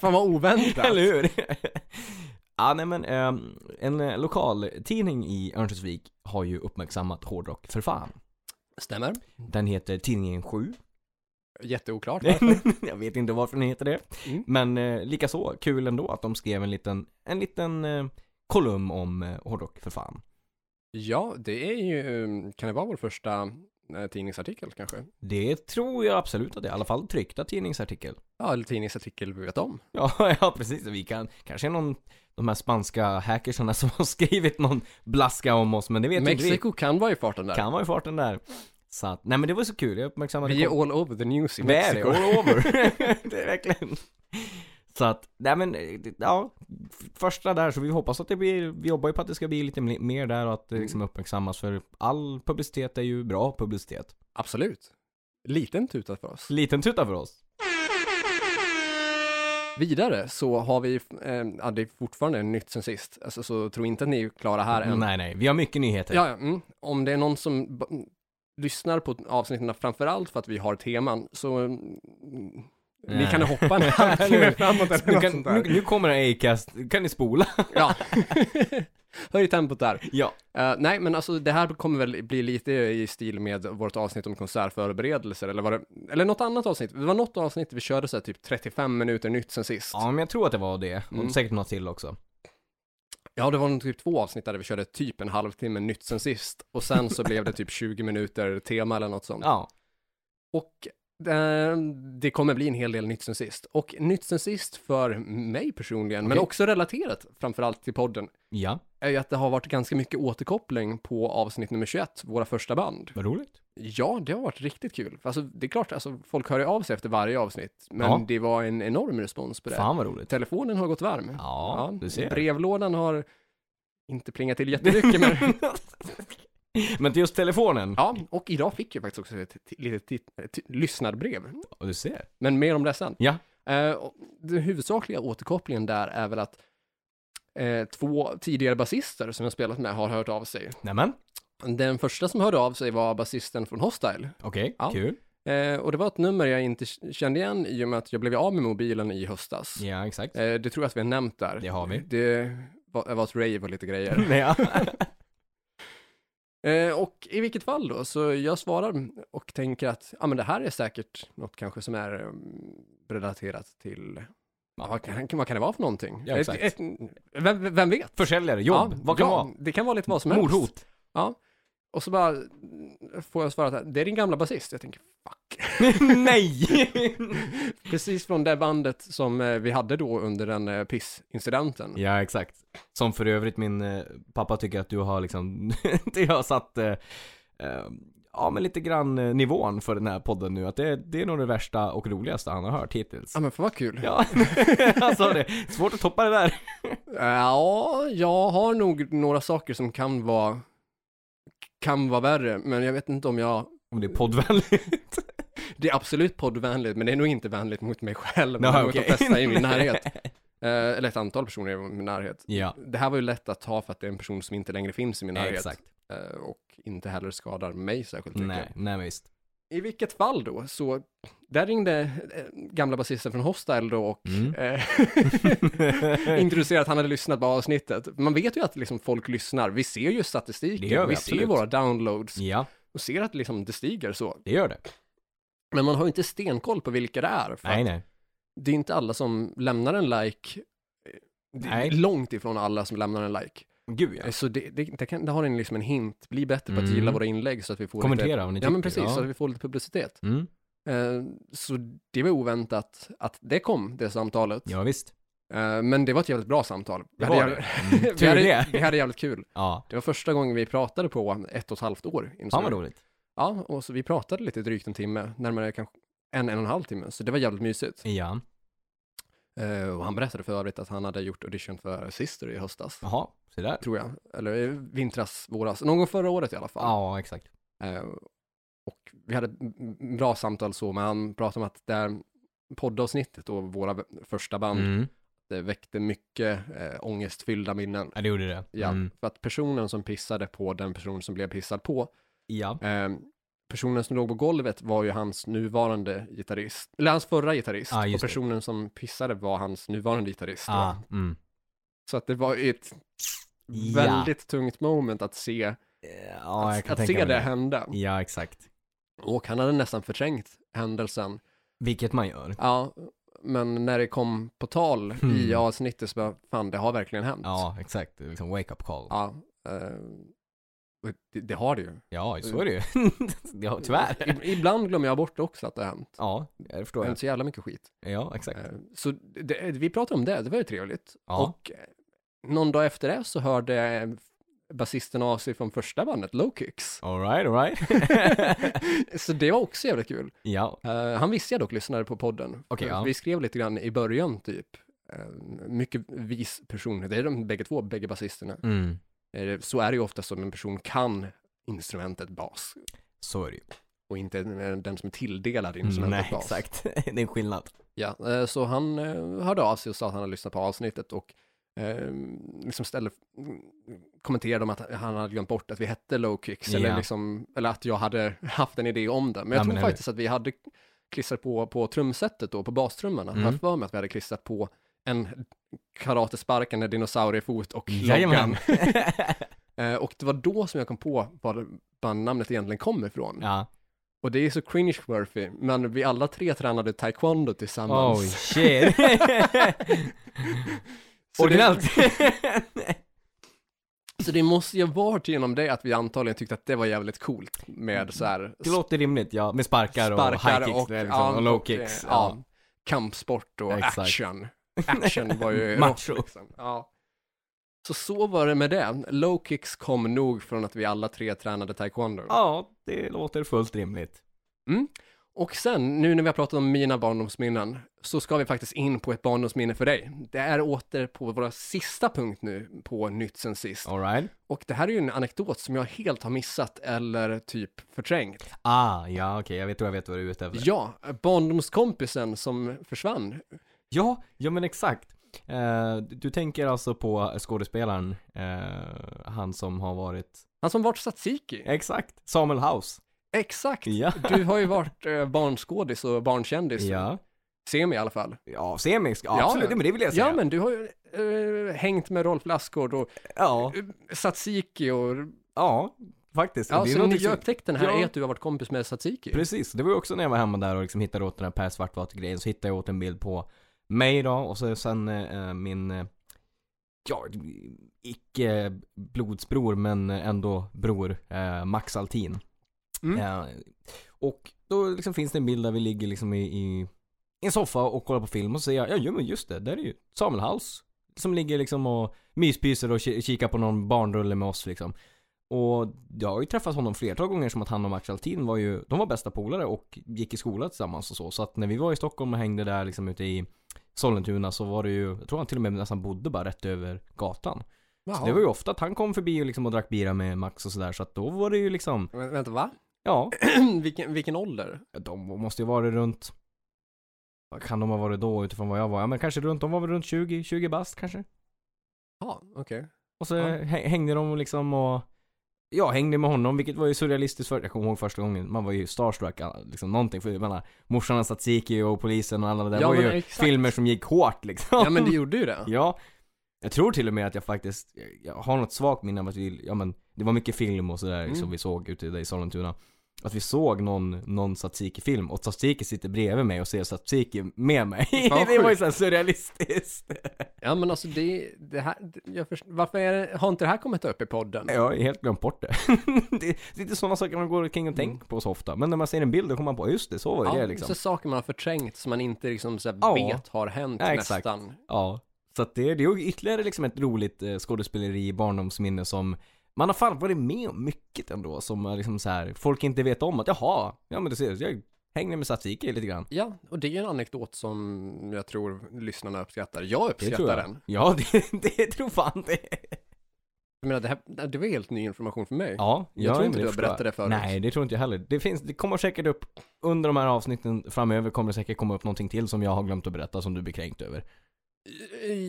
Speaker 2: fan vad oväntat.
Speaker 1: Eller hur? [LAUGHS] ja, nej men ehm, en eh, lokaltidning i Örnsköldsvik har ju uppmärksammat hårdrock för fan.
Speaker 2: Stämmer.
Speaker 1: Den heter Tidningen 7.
Speaker 2: Jätteoklart
Speaker 1: [LAUGHS]
Speaker 2: varför.
Speaker 1: jag vet inte varför den heter det.
Speaker 2: Mm.
Speaker 1: Men eh, lika så kul ändå att de skrev en liten, en liten eh, kolumn om eh, hårdrock för fan.
Speaker 2: Ja, det är ju, eh, kan det vara vår första eh, tidningsartikel kanske?
Speaker 1: Det tror jag absolut att det är, i alla fall tryckta tidningsartikel. [LAUGHS]
Speaker 2: Ja, eller tidningsartikel vi vet om.
Speaker 1: Ja, ja precis. Vi kan, kanske är någon, de här spanska hackersarna som har [LAUGHS] skrivit någon blaska om oss, men det vet inte vi.
Speaker 2: Mexiko kan vara i farten där.
Speaker 1: Kan vara i farten där. Så att, nej men det var så kul, jag uppmärksammade
Speaker 2: Vi
Speaker 1: kom-
Speaker 2: är all over the news i
Speaker 1: Det är det,
Speaker 2: Mexiko.
Speaker 1: all over.
Speaker 2: [LAUGHS]
Speaker 1: [LAUGHS] det är verkligen. Så att, nej men, det- ja, f- första där, så vi hoppas att det blir, vi jobbar ju på att det ska bli lite mli- mer där och att det
Speaker 2: Mm.
Speaker 1: liksom uppmärksammas för all publicitet är ju bra publicitet.
Speaker 2: Absolut. Liten tuta för oss.
Speaker 1: Liten tuta för oss.
Speaker 2: Vidare så har vi, eh, ja, det är fortfarande nytt sen sist, alltså, så tro inte att ni är klara här än.
Speaker 1: Nej nej, vi har mycket nyheter.
Speaker 2: Ja, ja, mm. Om det är någon som b- m, lyssnar på avsnitten framförallt för att vi har teman, så mm, ni
Speaker 1: Nej.
Speaker 2: kan hoppa
Speaker 1: [LAUGHS]
Speaker 2: en halvtimme framåt
Speaker 1: [LAUGHS]
Speaker 2: eller
Speaker 1: Nu,
Speaker 2: något
Speaker 1: kan,
Speaker 2: [LAUGHS] sånt där.
Speaker 1: nu, nu kommer en Acast, kan ni
Speaker 2: [LAUGHS]
Speaker 1: spola?
Speaker 2: Ja.
Speaker 1: [LAUGHS]
Speaker 2: Höj tempot där.
Speaker 1: ja.
Speaker 2: Eh, nej, men alltså det här kommer väl bli lite i stil med vårt avsnitt om konsertförberedelser, eller var det, eller något annat avsnitt. Det var något avsnitt vi körde så här, typ 35 minuter nytt sen sist.
Speaker 1: Ja men jag tror att det var det, och
Speaker 2: Mm.
Speaker 1: säkert något till också.
Speaker 2: Ja, det var nog typ två avsnitt där vi körde typ en halvtimme nytt sen sist och sen så blev
Speaker 1: [LAUGHS]
Speaker 2: det typ 20 minuter tema eller något sånt.
Speaker 1: Ja.
Speaker 2: Och eh, det kommer bli en hel del nytt sen sist. Och nytt sen sist för mig personligen, men
Speaker 1: Okej.
Speaker 2: också relaterat framförallt till podden,
Speaker 1: Ja,
Speaker 2: är ju att det har varit ganska mycket återkoppling på avsnitt nummer 21, våra första band.
Speaker 1: vad roligt.
Speaker 2: Ja, det har varit riktigt kul. Alltså, det är klart, alltså, folk hör ju av sig efter varje avsnitt, men
Speaker 1: Ja.
Speaker 2: det var en enorm respons på det.
Speaker 1: Fan vad roligt.
Speaker 2: Telefonen har gått varm.
Speaker 1: Ja, du ser.
Speaker 2: Brevlådan har inte plingat till jättemycket, men
Speaker 1: [LAUGHS] men till just telefonen,
Speaker 2: ja, och idag fick jag faktiskt också ett t- litet tit- t- lyssnarbrev.
Speaker 1: ja. du ser.
Speaker 2: Men mer om det sen.
Speaker 1: Ja.
Speaker 2: Eh, och den huvudsakliga återkopplingen där är väl att eh, två tidigare basister som jag spelat med har hört av sig.
Speaker 1: Nämen,
Speaker 2: Den första som hörde av sig var basisten från Hostile.
Speaker 1: okej,
Speaker 2: Ja.
Speaker 1: kul.
Speaker 2: Eh, och det var ett nummer jag inte k- kände igen i och med att jag blev av med mobilen i höstas.
Speaker 1: Ja, exakt.
Speaker 2: Eh, det tror jag att vi har nämnt där.
Speaker 1: Det har vi.
Speaker 2: Det var, var ett rave och lite grejer.
Speaker 1: [LAUGHS] Ja.
Speaker 2: Eh, och i vilket fall då, så jag svarar och tänker att ja men det här är säkert något kanske som är mm, relaterat till, [LAUGHS] ja, vad, kan, vad kan det vara för någonting?
Speaker 1: Ja, exakt.
Speaker 2: Ett, ett, vem, vem vet?
Speaker 1: Försäljare, jobb,
Speaker 2: Ja,
Speaker 1: vad kan det
Speaker 2: ja,
Speaker 1: vara?
Speaker 2: det kan vara lite vad som helst.
Speaker 1: Mordhot. [LAUGHS]
Speaker 2: Och så bara mm, får jag svaret att det är din gamla basist. Jag tänker, fuck.
Speaker 1: Nej! [LAUGHS]
Speaker 2: Precis från det bandet som eh, vi hade då under den eh, pissincidenten.
Speaker 1: ja, exakt. Som för övrigt min eh, pappa tycker att du har liksom, [LAUGHS] du har satt, eh, eh, ja men lite grann eh, nivån för den här podden nu. Att det, det är nog det värsta och roligaste han har hört hittills.
Speaker 2: Ja men för vad kul.
Speaker 1: Ja, [LAUGHS] han sa det. Svårt att toppa det där.
Speaker 2: Ja, jag har nog några saker som kan vara kan vara värre, men jag vet inte om jag...
Speaker 1: Om det är
Speaker 2: [LAUGHS]
Speaker 1: poddvänligt.
Speaker 2: Det är absolut poddvänligt, men det är nog inte vänligt mot mig själv,
Speaker 1: Nej,
Speaker 2: men mot
Speaker 1: okej.
Speaker 2: de flesta i
Speaker 1: [LAUGHS]
Speaker 2: min närhet. Eh, eller ett antal personer i min närhet.
Speaker 1: ja,
Speaker 2: Det här var ju lätt att ta för att det är en person som inte längre finns i min närhet.
Speaker 1: exakt.
Speaker 2: Eh, och inte heller skadar mig särskilt mycket.
Speaker 1: Nej, nej men [LAUGHS] visst.
Speaker 2: I vilket fall då, så där ringde eh, gamla basisten från Hostile då och
Speaker 1: [LAUGHS] Mm.
Speaker 2: eh, [LAUGHS] introducerade att han hade lyssnat på avsnittet. Man vet ju att liksom folk lyssnar. Vi ser ju statistiken,
Speaker 1: Det gör vi
Speaker 2: vi ser
Speaker 1: absolut.
Speaker 2: våra downloads
Speaker 1: ja,
Speaker 2: och ser att liksom det stiger så.
Speaker 1: det gör det.
Speaker 2: Men man har ju inte stenkoll på vilka det är. För
Speaker 1: Nej,
Speaker 2: att
Speaker 1: nej.
Speaker 2: Det är inte alla som lämnar en like. Det är
Speaker 1: Nej.
Speaker 2: långt ifrån alla som lämnar en like.
Speaker 1: Gud ja.
Speaker 2: Så det, det, det, kan, det har en, liksom en hint. Bli bättre på att
Speaker 1: Mm.
Speaker 2: gilla våra inlägg så att vi får lite...
Speaker 1: Kommentera om ni
Speaker 2: Ja
Speaker 1: tycker.
Speaker 2: men precis, så att
Speaker 1: Ja. Alltså,
Speaker 2: vi får lite publicitet.
Speaker 1: Mm.
Speaker 2: Eh, Så det var oväntat att det kom, det samtalet.
Speaker 1: ja, visst.
Speaker 2: Eh, Men det var ett jävligt bra samtal.
Speaker 1: Det
Speaker 2: hade
Speaker 1: var
Speaker 2: jävligt-
Speaker 1: det.
Speaker 2: [LAUGHS]
Speaker 1: Mm,
Speaker 2: vi,
Speaker 1: tur
Speaker 2: hade,
Speaker 1: det.
Speaker 2: vi hade jävligt kul.
Speaker 1: Ja,
Speaker 2: Det var första gången vi pratade på ett och ett halvt år. insåg
Speaker 1: fan vad
Speaker 2: jag.
Speaker 1: roligt.
Speaker 2: Ja, och så vi pratade lite drygt en timme, närmare kanske en, en och en halv timme, så det var jävligt mysigt.
Speaker 1: Ja.
Speaker 2: Eh, och han berättade för övrigt att han hade gjort audition för Sister i höstas,
Speaker 1: Jaha, se där.
Speaker 2: tror jag. Eller eh, vintras, våras, någon gång förra året i alla fall.
Speaker 1: Ja, exakt.
Speaker 2: Eh, och vi hade ett m- m- bra samtal så, men han pratade om att det här poddavsnittet och våra v- första band,
Speaker 1: Mm.
Speaker 2: det väckte mycket eh, ångestfyllda minnen.
Speaker 1: Ja, det gjorde det.
Speaker 2: Ja,
Speaker 1: Mm.
Speaker 2: för att personen som pissade på den person som blev pissad på,
Speaker 1: Ja.
Speaker 2: eh, personen som låg på golvet var ju hans nuvarande gitarrist, eller hans förra gitarrist,
Speaker 1: Ah,
Speaker 2: och
Speaker 1: just det.
Speaker 2: personen som pissade var hans nuvarande gitarrist. då.
Speaker 1: Ah, mm.
Speaker 2: Så att det var ju ett
Speaker 1: Ja.
Speaker 2: väldigt tungt moment att se,
Speaker 1: Ja, jag
Speaker 2: att,
Speaker 1: kan
Speaker 2: att
Speaker 1: tänka
Speaker 2: se
Speaker 1: mig
Speaker 2: det hända.
Speaker 1: Ja, exakt.
Speaker 2: Och han hade nästan förträngt händelsen
Speaker 1: Vilket man gör.
Speaker 2: Ja, men när det kom på tal i
Speaker 1: Mm.
Speaker 2: avsnittet så bara, fan det har verkligen hänt.
Speaker 1: Ja, exakt. Det är Liksom wake up call. Ja,
Speaker 2: Ja, eh, och det, det har det ju.
Speaker 1: så är det ju. [LAUGHS] ja, tyvärr.
Speaker 2: I- Ibland glömmer jag bort också att det har hänt.
Speaker 1: Ja, jag
Speaker 2: Det
Speaker 1: förstår.
Speaker 2: har
Speaker 1: Jag.
Speaker 2: hänt så jävla mycket skit.
Speaker 1: Ja, exakt.
Speaker 2: Eh, Så det, vi pratade om det, det var ju trevligt.
Speaker 1: Ja.
Speaker 2: Och eh, någon dag efter det så hörde eh, basisten av sig från första bandet, Low Kicks.
Speaker 1: Alright, alright. [LAUGHS]
Speaker 2: så det var också jävla kul.
Speaker 1: ja,
Speaker 2: Eh, han visste jag dock lyssnade på podden.
Speaker 1: Okej,
Speaker 2: Eh,
Speaker 1: ja.
Speaker 2: Vi skrev lite grann i början typ. Eh, mycket vis person, det är de bägge två, bägge basisterna.
Speaker 1: mm.
Speaker 2: Eh, så är det ju ofta som en person kan instrumentet bas
Speaker 1: så är det ju.
Speaker 2: och inte eh, den som är tilldelad
Speaker 1: Mm,
Speaker 2: instrumentet
Speaker 1: nej,
Speaker 2: bas.
Speaker 1: exakt. [LAUGHS] det är en skillnad.
Speaker 2: Ja, eh, så han eh, hörde av sig och sa att han hade lyssnat på avsnittet och eh, liksom ställde, mm, kommenterade om att han hade glömt bort att vi hette Low Kicks eller,
Speaker 1: Ja.
Speaker 2: liksom, eller att jag hade [LAUGHS] haft en idé om det. Men jag
Speaker 1: Ja, men
Speaker 2: tror
Speaker 1: eller-
Speaker 2: faktiskt att vi hade klistrat på, på trumsetet då, på bastrumman.
Speaker 1: Mm.
Speaker 2: Jag har för mig att vi hade klistrat på en karatesparkande dinosauriefot och
Speaker 1: Jajamän.
Speaker 2: loggan. Eh, och det var då som jag kom på var bandnamnet egentligen kommer ifrån.
Speaker 1: [LAUGHS] ja.
Speaker 2: Och det är så cringe-worthy, men vi alla tre tränade taekwondo tillsammans.
Speaker 1: Oh [LAUGHS] shit.
Speaker 2: Så det-
Speaker 1: Originellt.
Speaker 2: Så det måste ju ha varit genom det att vi antagligen tyckte att det var jävligt coolt med så här
Speaker 1: [LAUGHS] Det låter rimligt, ja. Med sparkar, och high kicks det är liksom,
Speaker 2: ja,
Speaker 1: och low kicks.
Speaker 2: eh,
Speaker 1: Ja.
Speaker 2: ja, kampsport och
Speaker 1: Exakt. [LAUGHS]
Speaker 2: action. Action var ju
Speaker 1: Macho.
Speaker 2: rått, liksom. Ja. Så så var det med det. Low kicks kom nog från att vi alla tre tränade taekwondo.
Speaker 1: ja, det låter fullt rimligt.
Speaker 2: Och sen, nu när vi har pratat om mina barndomsminnen, så ska vi faktiskt in på ett barndomsminne för dig. Det är åter på vår sista punkt nu på Nytt sen sist.
Speaker 1: Alright.
Speaker 2: Och det här är ju en anekdot som jag helt har missat eller typ förträngt.
Speaker 1: Ah, ja okej, jag vet tror jag vet vad du är ute efter.
Speaker 2: Ja, barndomskompisen som försvann.
Speaker 1: Ja, ja men exakt. Eh, du tänker alltså på skådespelaren, eh, han som har varit...
Speaker 2: Han som varit Satsiki.
Speaker 1: Exakt, Samuel House.
Speaker 2: Exakt.
Speaker 1: Ja.
Speaker 2: Du har ju varit eh, barnskådis och barnkändis.
Speaker 1: Ja,
Speaker 2: Semi i alla fall.
Speaker 1: ja semisk, ja,
Speaker 2: Ja.
Speaker 1: absolut, men det vill jag säga.
Speaker 2: Ja, men du har ju eh, hängt med Rolf Lassgård och
Speaker 1: ja,
Speaker 2: eh, Satsiki och...
Speaker 1: ja, faktiskt.
Speaker 2: Ja,
Speaker 1: Det är
Speaker 2: så den
Speaker 1: någonting
Speaker 2: nya
Speaker 1: som-
Speaker 2: upptäckten här
Speaker 1: Ja.
Speaker 2: är att du har varit kompis med Satsiki.
Speaker 1: Precis, det var ju också när jag var hemma där och liksom hittade åt den här Per Svartvart-grejen, så hittade jag åt en bild på mig då, och så sen eh, min, eh, ja, icke blodsbror men ändå bror, eh, Max Altin.
Speaker 2: Mm.
Speaker 1: Eh, och då liksom finns det en bild där vi ligger liksom i, i en soffa och kollar på film och så säger jag, ja jo, men just det, där är ju Samuel House. Som ligger liksom och myspyser och ki- kikar på någon barnrulle med oss liksom. Och jag har ju träffat honom flertal gånger som att han och Max Altin var ju, de var bästa polare och gick i skola tillsammans och så. Så att när vi var i Stockholm och hängde där liksom ute i Sollentuna så var det ju, jag tror han till och med nästan bodde bara rätt över gatan. Så
Speaker 2: Jaha.
Speaker 1: det var ju ofta att han kom förbi och, liksom och drack bira med Max och sådär så att då var det ju liksom,
Speaker 2: Men, vänta, va? Mm,
Speaker 1: ja,
Speaker 2: vilken, vilken ålder?
Speaker 1: de måste ju vara runt, vad kan de ha varit då utifrån vad jag var? Ja men kanske runt, de var väl runt 20, 20 bast kanske?
Speaker 2: Ja, okej.
Speaker 1: Och så
Speaker 2: Ja.
Speaker 1: hä- hängde de liksom och jag hängde med honom, vilket var ju surrealistiskt för jag kommer ihåg första gången, man var ju starstruck, alla- liksom någonting, för jag menar, morsan och Tsatsiki och polisen och alla det där
Speaker 2: Ja,
Speaker 1: var
Speaker 2: men
Speaker 1: ju
Speaker 2: exakt.
Speaker 1: filmer som gick hårt liksom.
Speaker 2: Ja, men det gjorde ju det.
Speaker 1: Ja. Jag tror till och med att jag faktiskt, jag har något svagt minne av att vi, ja men det var mycket film och sådär
Speaker 2: Mm.
Speaker 1: som vi såg ute där i Sollentuna. Att vi såg någon, någon Tsatsiki-film och Tsatsiki sitter bredvid mig och ser Tsatsiki med mig.
Speaker 2: Fan,
Speaker 1: [LAUGHS] det var ju
Speaker 2: sjukt.
Speaker 1: såhär surrealistiskt.
Speaker 2: Ja, men alltså det, det här, det- jag först, varför är det, har inte det här kommit upp i podden?
Speaker 1: Jag har helt glömt bort det. [LAUGHS] det är lite sådana saker man går omkring och tänker på så ofta. Men när man ser en bild då kommer man på, just det, så var ju
Speaker 2: Ja,
Speaker 1: det liksom.
Speaker 2: så saker man har förträngt som man inte liksom så här
Speaker 1: Ja.
Speaker 2: vet har hänt
Speaker 1: Ja, exakt.
Speaker 2: nästan.
Speaker 1: Ja, så att det, det är ju ytterligare liksom ett roligt eh, skådespeleri i barndomsminne som man har fan varit med om mycket ändå som är liksom så här, folk inte vet om att jaha, ja men du ser, jag hänger med Satsiki lite grann.
Speaker 2: Ja, och det är ju en anekdot som jag tror lyssnarna uppskattar. Jag
Speaker 1: Det tror
Speaker 2: uppskattar
Speaker 1: jag.
Speaker 2: den.
Speaker 1: Ja, [LAUGHS] det, det tror fan det.
Speaker 2: Jag menar, det, här, det var helt ny information för mig.
Speaker 1: Ja,
Speaker 2: Jag tror inte du har berättat det förut.
Speaker 1: Nej, det tror inte jag heller. Det finns, det kommer säkert upp, under de här avsnitten framöver kommer det säkert komma upp någonting till som jag har glömt att berätta som du blir kränkt över.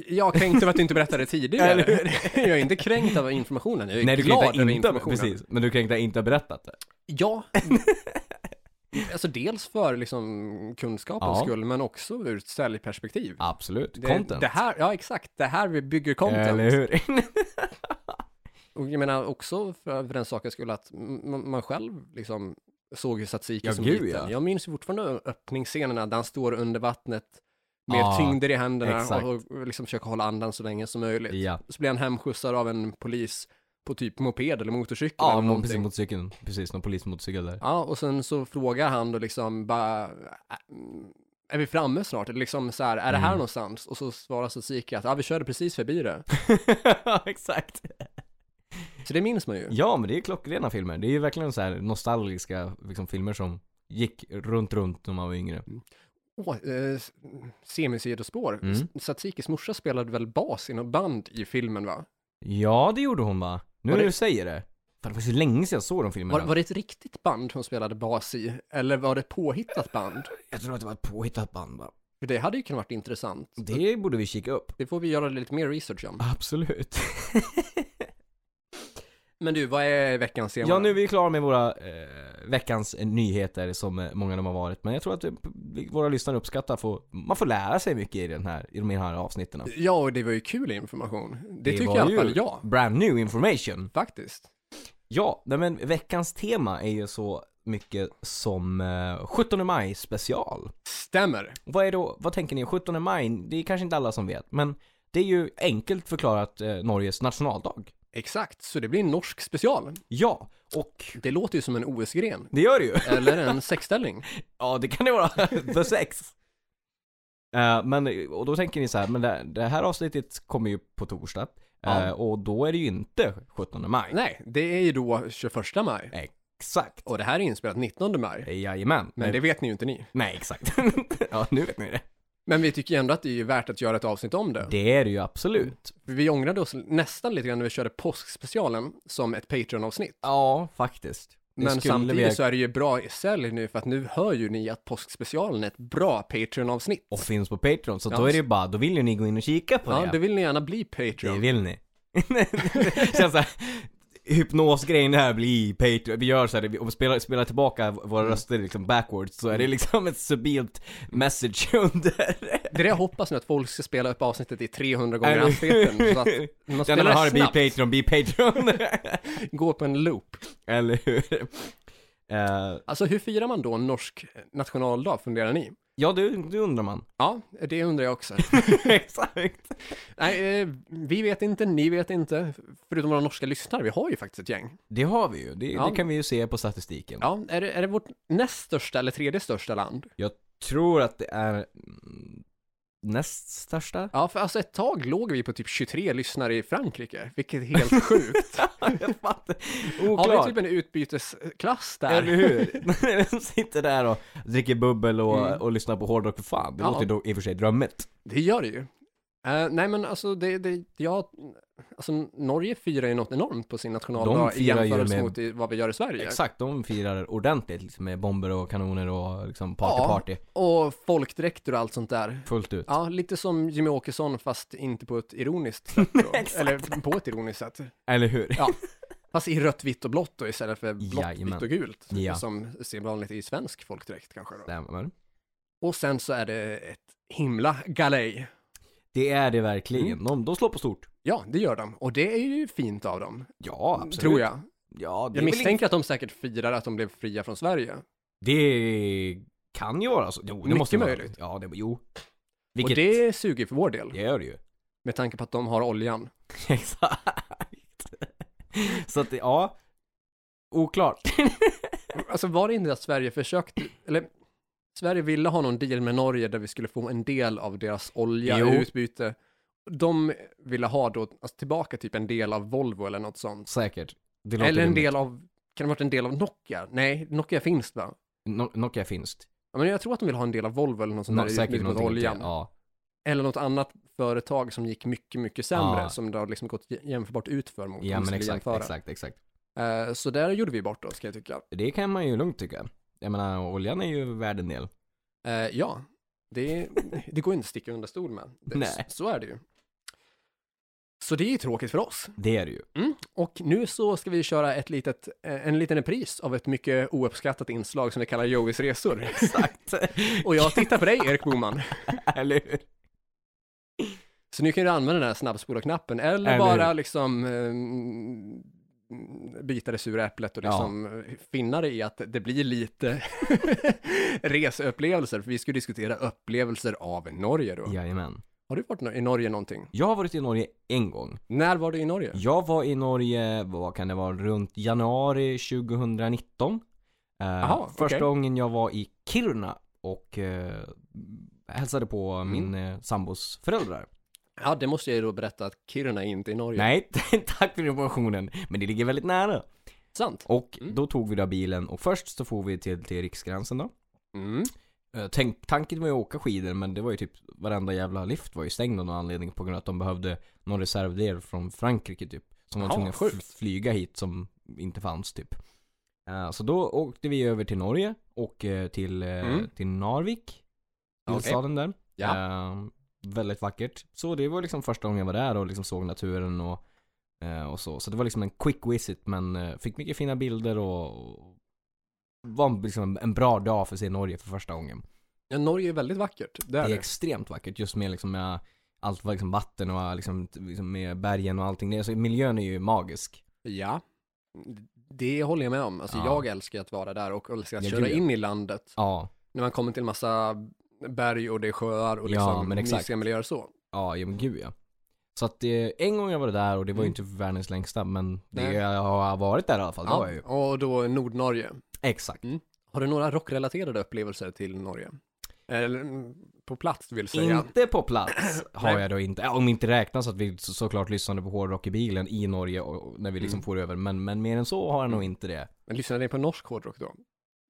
Speaker 2: Jag är kränkt över att du
Speaker 1: [LAUGHS]
Speaker 2: inte berättade
Speaker 1: Eller
Speaker 2: tidigare. jag är inte kränkt av informationen, jag
Speaker 1: [LAUGHS]
Speaker 2: är
Speaker 1: Nej, du
Speaker 2: glad
Speaker 1: kränkte
Speaker 2: över
Speaker 1: inte,
Speaker 2: informationen.
Speaker 1: precis. Men du kränkte inte ha berättat det. [LAUGHS]
Speaker 2: Ja. alltså dels för liksom kunskapens
Speaker 1: Ja.
Speaker 2: skull, men också ur ett säljperspektiv.
Speaker 1: Absolut.
Speaker 2: Det,
Speaker 1: content.
Speaker 2: Det här, ja exakt, det här vi bygger content.
Speaker 1: Eller hur? [LAUGHS]
Speaker 2: Och jag menar också för, för den sakens skull att m- man själv liksom såg ju Satsiki
Speaker 1: Ja,
Speaker 2: som
Speaker 1: gud,
Speaker 2: liten.
Speaker 1: ja.
Speaker 2: Jag minns ju fortfarande öppningsscenerna där han står under vattnet med
Speaker 1: Ja,
Speaker 2: tyngder i händerna
Speaker 1: Ah, exakt.
Speaker 2: och, och liksom försöker hålla andan så länge som möjligt.
Speaker 1: Ja,
Speaker 2: Så blir han hemskjutsad av en polis på typ moped eller motorcykel
Speaker 1: ja
Speaker 2: eller
Speaker 1: någon
Speaker 2: någonting.
Speaker 1: precis motorcykeln. Precis, någon polismotorcykel där.
Speaker 2: Ja, och sen så frågar han då liksom bara, "Ä- är vi framme snart? Eller liksom så här, är det här
Speaker 1: Mm.
Speaker 2: någonstans? Och så svarar Satsiki att, ja vi körde precis
Speaker 1: [LAUGHS]
Speaker 2: förbi det.
Speaker 1: [LAUGHS] Ja, exakt.
Speaker 2: Så det minns man ju.
Speaker 1: Ja, men det är ju klockrena filmer. Det är ju verkligen så här nostalgiska liksom, filmer som gick runt, runt när man var yngre.
Speaker 2: Åh, eh, s- semisidospår.
Speaker 1: Mm.
Speaker 2: S- Satsikis morsa spelade väl bas i något band i filmen va?
Speaker 1: Ja, det gjorde hon va? Nu
Speaker 2: Var
Speaker 1: när
Speaker 2: det-
Speaker 1: du säger det. Fan, det var så länge sedan jag såg de filmerna.
Speaker 2: Var, var det ett riktigt band hon spelade bas i? Eller var det ett påhittat band?
Speaker 1: Jag tror att det var ett påhittat band va?
Speaker 2: För det hade ju kunnat varit intressant.
Speaker 1: Det borde vi kika upp.
Speaker 2: Det får vi göra lite mer research om.
Speaker 1: Absolut.
Speaker 2: Men du, vad är veckans tema?
Speaker 1: Ja, nu är vi klara med våra eh, veckans nyheter som eh, många av dem har varit. Men jag tror att eh, vi- våra lyssnare uppskattar, får, man får lära sig mycket i, den här, i de här avsnitten.
Speaker 2: Ja, och det var ju kul information. Det,
Speaker 1: Det
Speaker 2: tycker
Speaker 1: var
Speaker 2: i alla
Speaker 1: ju-
Speaker 2: fall jag,
Speaker 1: Brand new information.
Speaker 2: faktiskt.
Speaker 1: Ja, nej men veckans tema är ju så mycket som eh, 17 maj special.
Speaker 2: Stämmer.
Speaker 1: Vad är då, vad tänker ni, 17 maj, det är kanske inte alla som vet, men det är ju enkelt förklarat eh, Norges nationaldag.
Speaker 2: Exakt, så det blir en norsk special.
Speaker 1: Ja, och
Speaker 2: Det låter ju som en OS-gren.
Speaker 1: det gör det ju. [LAUGHS]
Speaker 2: Eller en sexställning.
Speaker 1: Ja, det kan det vara. [LAUGHS] The sex. Eh, men, och då tänker ni så här, men det, det här avsnittet kommer ju på torsdag.
Speaker 2: Ja.
Speaker 1: eh, och då är det ju inte 17 maj.
Speaker 2: Nej, det är ju då 21 maj.
Speaker 1: Exakt.
Speaker 2: Och det här är inspelat 19 maj.
Speaker 1: Jajamän.
Speaker 2: Men det vet ni ju inte ni.
Speaker 1: Nej,
Speaker 2: [LAUGHS]
Speaker 1: exakt. ja, nu vet ni det.
Speaker 2: Men vi tycker ju ändå att det är värt att göra ett avsnitt om det.
Speaker 1: Det är det ju absolut.
Speaker 2: Vi ångrade oss nästan lite grann när vi körde påskspecialen som ett Patreon-avsnitt.
Speaker 1: Ja, faktiskt. Det
Speaker 2: Men
Speaker 1: skulle
Speaker 2: samtidigt
Speaker 1: vi-
Speaker 2: så är det ju bra i sälj nu för att nu hör ju ni att påskspecialen är ett bra Patreon-avsnitt.
Speaker 1: Och finns på Patreon, så
Speaker 2: Ja.
Speaker 1: då är det ju bara, då vill ju ni gå in och kika på
Speaker 2: Ja,
Speaker 1: det.
Speaker 2: då vill ni gärna bli Patreon.
Speaker 1: Det vill ni. [LAUGHS] Känns såhär, hypnosgrejen här blir Patreon, vi gör såhär, om vi spelar, spelar tillbaka våra
Speaker 2: Mm.
Speaker 1: röster liksom backwards så är det liksom ett subilt message [LAUGHS] under.
Speaker 2: Det är det jag hoppas nu, att folk ska spela upp avsnittet i 300 gånger
Speaker 1: Eller-
Speaker 2: hastigheten.
Speaker 1: [LAUGHS]
Speaker 2: Så att när man
Speaker 1: Den man
Speaker 2: spelar
Speaker 1: har
Speaker 2: det
Speaker 1: det,
Speaker 2: snabbt,
Speaker 1: bli Patreon, bli Patreon. [LAUGHS]
Speaker 2: går på en loop.
Speaker 1: Eller hur? Eh,
Speaker 2: Alltså hur firar man då en norsk nationaldag, funderar ni?
Speaker 1: ja, det, det undrar man. [LAUGHS]
Speaker 2: Ja, det undrar jag också.
Speaker 1: Exakt.
Speaker 2: Nej, eh, vi vet inte, ni vet inte, förutom våra norska lyssnare, vi har ju faktiskt ett gäng.
Speaker 1: Det har vi ju, det,
Speaker 2: Ja.
Speaker 1: det kan vi ju se på statistiken.
Speaker 2: Ja, är det, är det vårt näst största eller tredje största land?
Speaker 1: Tror att det är mm, näst
Speaker 2: [LAUGHS]
Speaker 1: största?
Speaker 2: Ja, för alltså ett tag låg vi på typ 23 lyssnare i Frankrike, vilket
Speaker 1: [LAUGHS]
Speaker 2: är helt sjukt.
Speaker 1: Jag fattar.
Speaker 2: Har
Speaker 1: Oklart.
Speaker 2: vi är typ en utbytesklass
Speaker 1: Eller
Speaker 2: där?
Speaker 1: hur? [LAUGHS] De sitter där och dricker bubbel och,
Speaker 2: Mm.
Speaker 1: och lyssnar på hårdrock för fan. Det
Speaker 2: Ja.
Speaker 1: låter ju då i och för sig drömmigt.
Speaker 2: Det gör det ju. Eh, nej, men alltså det, det jag, alltså Norge firar ju något enormt på sin nationaldag i
Speaker 1: firar ju
Speaker 2: jämförelse
Speaker 1: med-
Speaker 2: mot i, vad vi gör i Sverige.
Speaker 1: Exakt, de firar ordentligt liksom, med bomber och kanoner och liksom party party.
Speaker 2: Och folkdräkter och allt sånt där.
Speaker 1: Fullt ut.
Speaker 2: Ja, lite som Jimmy Åkesson fast inte på
Speaker 1: [LAUGHS]
Speaker 2: ett ironiskt sätt. Då. Eller på ett ironiskt sätt.
Speaker 1: Eller hur?
Speaker 2: Ja. Fast i rött, vitt och blått då istället för blått,
Speaker 1: Jajamän.
Speaker 2: vitt och gult.
Speaker 1: Ja.
Speaker 2: Som ser vanligt i svensk folkdräkt kanske då.
Speaker 1: Stämmer.
Speaker 2: Och sen så är det ett himla galej.
Speaker 1: Det är det verkligen.
Speaker 2: Mm.
Speaker 1: De, de slår på stort.
Speaker 2: Ja, det gör de. Och det är ju fint av dem,
Speaker 1: Ja, absolut.
Speaker 2: tror jag.
Speaker 1: Ja, det,
Speaker 2: Jag
Speaker 1: är väl inte-
Speaker 2: misstänker att de säkert firar att de blev fria från Sverige.
Speaker 1: det kan ju vara så. Jo, det
Speaker 2: Mycket
Speaker 1: måste vara.
Speaker 2: möjligt.
Speaker 1: Ja, det, jo. Vilket,
Speaker 2: Och det suger för vår del,
Speaker 1: det gör
Speaker 2: [LAUGHS]
Speaker 1: det ju.
Speaker 2: med tanke på att de har oljan.
Speaker 1: Exakt. Så att, det- ja.
Speaker 2: [LAUGHS]
Speaker 1: Oklart.
Speaker 2: Alltså var det inte att Sverige försökte, eller Sverige ville ha någon deal med Norge där vi skulle få en del av deras olja
Speaker 1: Jo.
Speaker 2: i utbyte. De ville ha då alltså, tillbaka typ en del av Volvo eller något sånt.
Speaker 1: Säkert. Det låter
Speaker 2: Eller en
Speaker 1: rimligt.
Speaker 2: del av, kan det ha varit en del av Nokia? Nej, Nokia finns va?
Speaker 1: No- Nokia finskt.
Speaker 2: Ja, men jag tror att de vill ha en del av Volvo eller något sånt
Speaker 1: Nå-
Speaker 2: där i utbyte mot
Speaker 1: någonting åt det,
Speaker 2: oljan.
Speaker 1: Ja.
Speaker 2: Eller något annat företag som gick mycket, mycket sämre,
Speaker 1: Ja.
Speaker 2: som det har liksom gått jämförbart ut för mot.
Speaker 1: Ah.
Speaker 2: om
Speaker 1: ja
Speaker 2: vi
Speaker 1: men
Speaker 2: skulle
Speaker 1: exakt,
Speaker 2: jämföra.
Speaker 1: exakt, exakt.
Speaker 2: Eh, Så där gjorde vi bort oss, ska jag tycka.
Speaker 1: Det kan man ju lugnt tycka. Jag menar, oljan är ju värd en del.
Speaker 2: Eh, ja, det, det går inte att sticka under stol med. Det,
Speaker 1: Nej.
Speaker 2: Så är det ju. Så det är ju tråkigt för oss.
Speaker 1: Det är det
Speaker 2: [LAUGHS]
Speaker 1: ju.
Speaker 2: Mm. Och nu så ska vi köra ett litet, eh, en liten repris av ett mycket ouppskattat inslag som vi kallar Joeys resor.
Speaker 1: Exakt.
Speaker 2: Och jag tittar på dig, Erik Boman.
Speaker 1: [LAUGHS] Eller hur?
Speaker 2: Så nu kan du använda den här snabbspola-knappen eller
Speaker 1: Eller
Speaker 2: bara
Speaker 1: hur?
Speaker 2: liksom eh, mm, bita det sura äpplet och liksom finna det i att det blir lite [LAUGHS] reseupplevelser. För vi skulle diskutera upplevelser av Norge då.
Speaker 1: Jajamän.
Speaker 2: Har du varit i Norge någonting?
Speaker 1: Jag har varit i Norge en gång.
Speaker 2: När var du i Norge?
Speaker 1: Jag var i Norge, vad kan det vara, runt januari 2019. Eh,
Speaker 2: Aha, okej.
Speaker 1: första gången jag var i Kiruna och eh, hälsade på min eh, sambos föräldrar.
Speaker 2: Mm. Ja, det måste jag ju då berätta att Kiruna är inte i Norge.
Speaker 1: Nej, [LAUGHS] tack för informationen. Men det ligger väldigt nära.
Speaker 2: Sant.
Speaker 1: Och
Speaker 2: Mm.
Speaker 1: då tog vi då bilen och först så for vi till, till Riksgränsen då.
Speaker 2: Mm.
Speaker 1: Eh, Tänk, tanken var ju att åka skidor men det var ju typ varenda jävla lift var ju stängd av någon anledning på grund av att de behövde någon reservdel från Frankrike typ. Som de var
Speaker 2: Ja,
Speaker 1: tvungna att
Speaker 2: sjukt.
Speaker 1: f- flyga hit som inte fanns typ. Eh, Så då åkte vi över till Norge och eh, till, eh,
Speaker 2: Mm.
Speaker 1: till Narvik.
Speaker 2: Okej.
Speaker 1: Huvudstaden där.
Speaker 2: Ja.
Speaker 1: Eh, väldigt vackert. Så det var liksom första gången jag var där och liksom såg naturen och, eh, och så. Så det var liksom en quick visit men eh, fick mycket fina bilder och, och var liksom en, en bra dag för att se Norge för första gången.
Speaker 2: Ja, Norge är väldigt vackert. Det
Speaker 1: Det
Speaker 2: är
Speaker 1: är
Speaker 2: det.
Speaker 1: extremt vackert just med liksom med allt vad liksom vatten och liksom, liksom med bergen och allting. Det, är- alltså, miljön är ju magisk.
Speaker 2: Ja. Det håller jag med om. Alltså
Speaker 1: Ja.
Speaker 2: jag älskar att vara där och älskar att
Speaker 1: Ja,
Speaker 2: köra
Speaker 1: gud, ja.
Speaker 2: in i landet.
Speaker 1: Ja,
Speaker 2: När man kommer till massa berg och det är sjöar och
Speaker 1: Ja,
Speaker 2: liksom
Speaker 1: men exakt.
Speaker 2: mysiga miljöer så.
Speaker 1: ja, ja men gud ja. Så att det, en gång jag var där och det var ju inte världens längsta men det,
Speaker 2: Mm. Nej.
Speaker 1: jag har varit där i alla fall. Det var jag ju.
Speaker 2: och då Nordnorge.
Speaker 1: Exakt.
Speaker 2: Har du några rockrelaterade upplevelser till Norge? Eller mm, på plats vill säga.
Speaker 1: Inte på
Speaker 2: [CLEARS THROAT]
Speaker 1: plats har
Speaker 2: Nej.
Speaker 1: jag då inte, om inte räknas att vi så, såklart lyssnade på hårdrock i bilen i Norge och, och när vi liksom
Speaker 2: Mm.
Speaker 1: for över men, men mer än så har jag nog inte det.
Speaker 2: Men lyssnade ni på norsk hårdrock då?